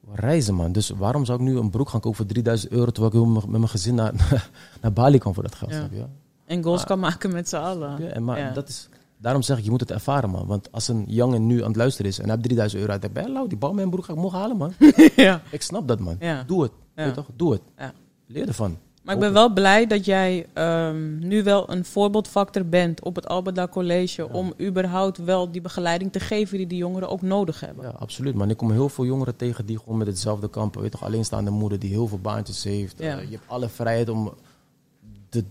Speaker 2: ik wil reizen, man. Dus waarom zou ik nu een broek gaan kopen voor 3000 euro... terwijl ik heel met met mijn gezin naar, naar Bali kan voor dat geld,
Speaker 1: Ja.
Speaker 2: snap je?
Speaker 1: En goals kan maken met z'n allen.
Speaker 2: Ja, Ah. en maar
Speaker 1: Ja.
Speaker 2: dat is... Daarom zeg ik, je moet het ervaren, man. Want als een jongen nu aan het luisteren is... en hij heeft 3000 euro uit de bij, lauw, die bal met mijn broek ga ik morgen halen, man.
Speaker 1: ja.
Speaker 2: ik snap dat, man.
Speaker 1: Ja.
Speaker 2: Doe het.
Speaker 1: Ja.
Speaker 2: Weet je toch? Doe het.
Speaker 1: Ja.
Speaker 2: Leer ervan.
Speaker 1: Maar ik ben wel blij dat jij ehm, nu wel een voorbeeldfactor bent op het Albeda College. Om überhaupt wel die begeleiding te geven die die jongeren ook nodig hebben.
Speaker 2: Ja, absoluut. Maar ik kom heel veel jongeren tegen die gewoon met hetzelfde kampen. Weet toch, alleenstaande moeder die heel veel baantjes heeft.
Speaker 1: Ja.
Speaker 2: Eh, je hebt alle vrijheid om de,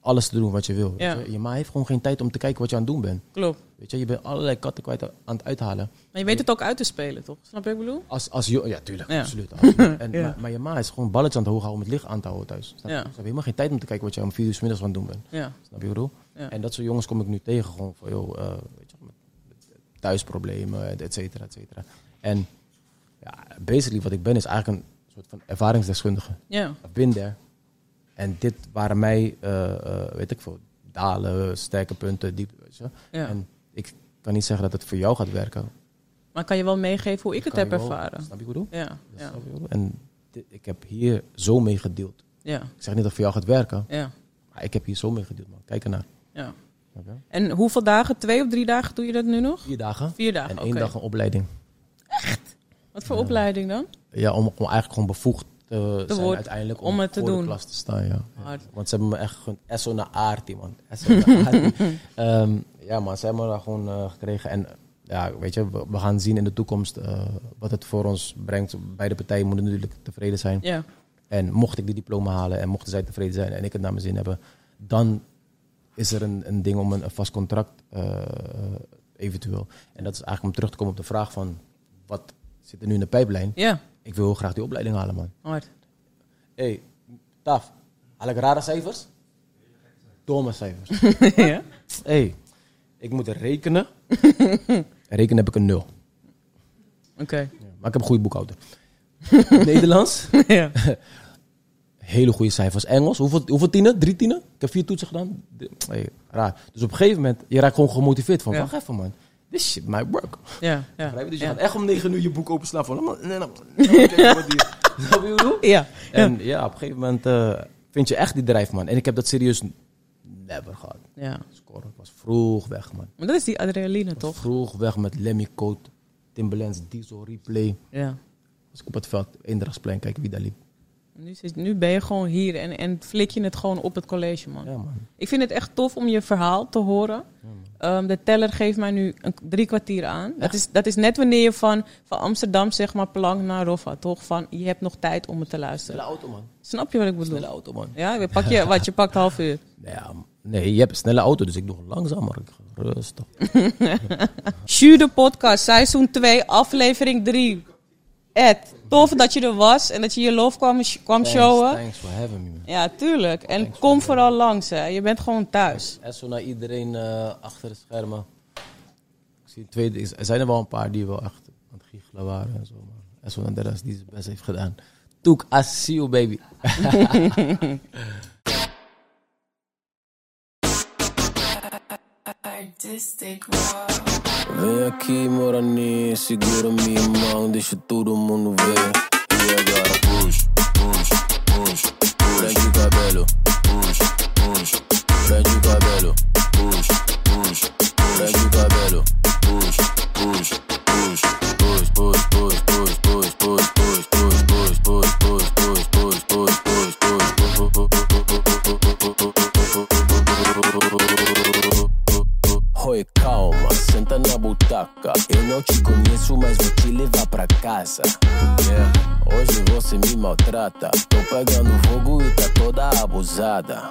Speaker 2: alles te doen wat je wil.
Speaker 1: Ja.
Speaker 2: weet je. Je ma heeft gewoon geen tijd om te kijken wat je aan het doen bent.
Speaker 1: Klopt.
Speaker 2: Weet je, je bent allerlei katten kwijt aan het uithalen.
Speaker 1: Maar je weet het ook uit te spelen, toch? Snap je wat ik bedoel?
Speaker 2: Als, als jo- ja, tuurlijk,
Speaker 1: Ja.
Speaker 2: absoluut. absoluut. En,
Speaker 1: Ja.
Speaker 2: maar, maar je ma is gewoon balletjes aan het hoog houden om het licht aan te houden thuis. Snap je?
Speaker 1: Ja.
Speaker 2: Ze hebben helemaal geen tijd om te kijken wat je om vier uur 's middags aan het doen bent.
Speaker 1: Ja.
Speaker 2: Snap je wat ik bedoel?
Speaker 1: Ja.
Speaker 2: En dat soort jongens kom ik nu tegen, gewoon van, joh, eh, weet je, wel, met thuisproblemen, et cetera, et cetera. En ja, basically wat ik ben is eigenlijk een soort van ervaringsdeskundige.
Speaker 1: Ja.
Speaker 2: I've been there. En dit waren mij, eh, eh, weet ik veel, dalen, sterke punten, diep, weet je. wel.
Speaker 1: ja.
Speaker 2: En ik kan niet zeggen dat het voor jou gaat werken.
Speaker 1: Maar kan je wel meegeven hoe ik het
Speaker 2: Kan
Speaker 1: heb
Speaker 2: je wel-
Speaker 1: ervaren?
Speaker 2: Snap je wat ik bedoel?
Speaker 1: Ja.
Speaker 2: Dat
Speaker 1: Ja.
Speaker 2: snap je wat ik bedoel? En dit- ik heb hier zo mee gedeeld.
Speaker 1: Ja.
Speaker 2: Ik zeg niet dat het voor jou gaat werken,
Speaker 1: Ja.
Speaker 2: maar ik heb hier zo mee gedeeld, man. Kijk ernaar.
Speaker 1: ja.
Speaker 2: Snap je?
Speaker 1: En hoeveel dagen? Twee of drie dagen doe je dat nu nog?
Speaker 2: Vier dagen.
Speaker 1: Vier dagen.
Speaker 2: En
Speaker 1: Oké.
Speaker 2: één dag een opleiding.
Speaker 1: Wat voor opleiding dan?
Speaker 2: Ja, om, om eigenlijk gewoon bevoegd te zijn
Speaker 1: worden-
Speaker 2: uiteindelijk.
Speaker 1: om het te
Speaker 2: voor
Speaker 1: doen. Ah.
Speaker 2: de klas te staan, ja. Ja.
Speaker 1: Hard.
Speaker 2: Want ze hebben me echt gewoon SO naar aardig, man. SO naar aardig. Ehm, ja, maar ze hebben me daar gewoon eh, gekregen. En eh, ja, weet je, we, we gaan zien in de toekomst eh, wat het voor ons brengt. Beide partijen moeten natuurlijk tevreden zijn.
Speaker 1: Ja.
Speaker 2: En mocht ik die diploma halen en mochten zij tevreden zijn en ik het naar mijn zin hebben, dan is er een, een ding om een, een vast contract eh, eventueel. En dat is eigenlijk om terug te komen op de vraag van wat zit er nu in de pijplijn?
Speaker 1: Ja.
Speaker 2: Ik wil heel graag die opleiding halen, man.
Speaker 1: Hard.
Speaker 2: Hé, hey, Taf, haal ik rare cijfers? Domme cijfers.
Speaker 1: ja.
Speaker 2: Hé, hey, ik moet rekenen. rekenen heb ik een nul.
Speaker 1: Oké.
Speaker 2: Maar ik heb een goede boekhouder. Nederlands,
Speaker 1: ja.
Speaker 2: hele goede cijfers. Engels, hoeveel, hoeveel tienen? Drie tienen? Ik heb vier toetsen gedaan. De- Hey, raar. Dus op een gegeven moment, je raakt gewoon gemotiveerd van,
Speaker 1: Ja.
Speaker 2: wacht even man. This shit might work.
Speaker 1: Ja. Ja.
Speaker 2: Begrijp je? Dus je
Speaker 1: Ja.
Speaker 2: gaat echt om negen uur je boek openslaan van, "Man, nee, nee, nee, kijk wat hier." Snap je wat ik bedoel?
Speaker 1: Ja.
Speaker 2: En ja, op een gegeven moment eh, vind je echt die drijf, man. En ik heb dat serieus never gehad.
Speaker 1: Ja.
Speaker 2: Scoren. Ik was vroeg weg, man.
Speaker 1: Maar dat is die adrenaline,
Speaker 2: Ik was
Speaker 1: toch?
Speaker 2: vroeg weg met Lemmy Coat, Timberlands, Diesel, Replay.
Speaker 1: Ja.
Speaker 2: Als ik op het veld, Eendrachtsplein, kijk wie daar liep.
Speaker 1: Nu, zit, nu ben je gewoon hier en, en flik je het gewoon op het college, man.
Speaker 2: Ja, Hmm. man.
Speaker 1: Ik vind het echt tof om je verhaal te horen. Ehm, de teller geeft mij nu een, drie kwartier aan. Dat is, dat is net wanneer je van, van Amsterdam, zeg maar, plank naar Roffa, toch? Van, je hebt nog tijd om het te
Speaker 2: Snelle
Speaker 1: luisteren.
Speaker 2: auto, man.
Speaker 1: Snap je wat ik bedoel?
Speaker 2: Snelle auto, man.
Speaker 1: Ja, je pak je, wat, je pakt half uur.
Speaker 2: Ja, nee, je hebt een snelle auto, dus ik doe langzamer. Ik ga rustig.
Speaker 1: Sjoe de podcast, seizoen 2, aflevering 3. Ed, tof dat je er was en dat je je lof kwam, kwam showen.
Speaker 2: Thanks for having me, man.
Speaker 1: Ja, tuurlijk. En kom vooral langs, hè. Je bent gewoon thuis.
Speaker 2: En zo naar iedereen eh, achter de schermen. Ik zie twee, is- er zijn er wel een paar die wel echt aan het giechelen waren en zo. Maar Esso Nanderas die zijn best heeft gedaan. Toek asiel, baby.
Speaker 3: Artistic raw.
Speaker 4: Vem aqui, Morani, segura minha mão, deixa todo mundo ver. E agora push, push, push, push. Prende o cabelo, push, push. Prende o cabelo, push, push. Prende o cabelo, push, push, push. Push, push, push, push, push, push, push, push, push, push, push, push, push, push, push, push, push, push. Oi, calma, senta na butaca. Eu não te conheço, mas vou te levar pra casa. Yeah. Hoje você me maltrata. Tô pegando fogo e tá toda abusada.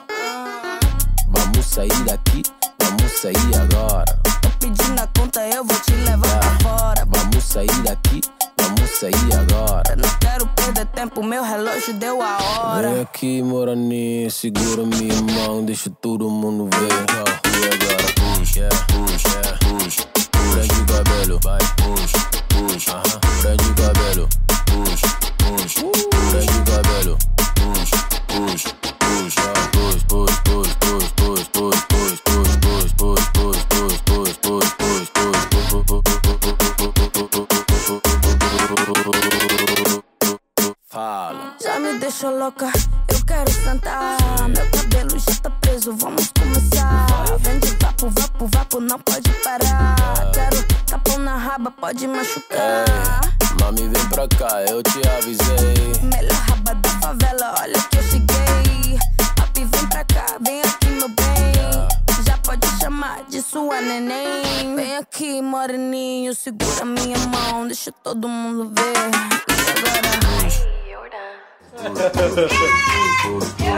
Speaker 4: Vamos sair daqui, vamos sair agora.
Speaker 3: Tô pedindo a conta, eu vou te levar pra fora.
Speaker 4: Vamos sair daqui, vamos
Speaker 2: vamos sair agora.
Speaker 5: Eu não quero perder tempo, meu relógio deu a hora.
Speaker 2: Vem aqui, Morani, segura minha mão, deixa todo mundo ver. E agora é, push, yeah, push, yeah, push, push. Prende o cabelo, vai, push, push, aham. Prende o cabelo, push, push, prende o cabelo, push, push, push, ah. push, push, push, push, push, push, push, push, push, push, push, push, push, push, push, push, push, push, Fala.
Speaker 5: Já me deixou louca, eu quero sentar. Meu cabelo já tá preso, vamos começar. Vem de vapo, vapo, vapo, não pode parar. Quero tapão na raba, pode machucar.
Speaker 2: Ei, mami, vem pra cá, eu te avisei.
Speaker 5: Melhor raba da favela, olha que eu cheguei. Papi, vem pra cá, vem aqui, meu bem. Já pode chamar de sua neném. Vem aqui, moreninho, segura minha mão, deixa todo mundo ver. E agora?
Speaker 2: Push, push, push,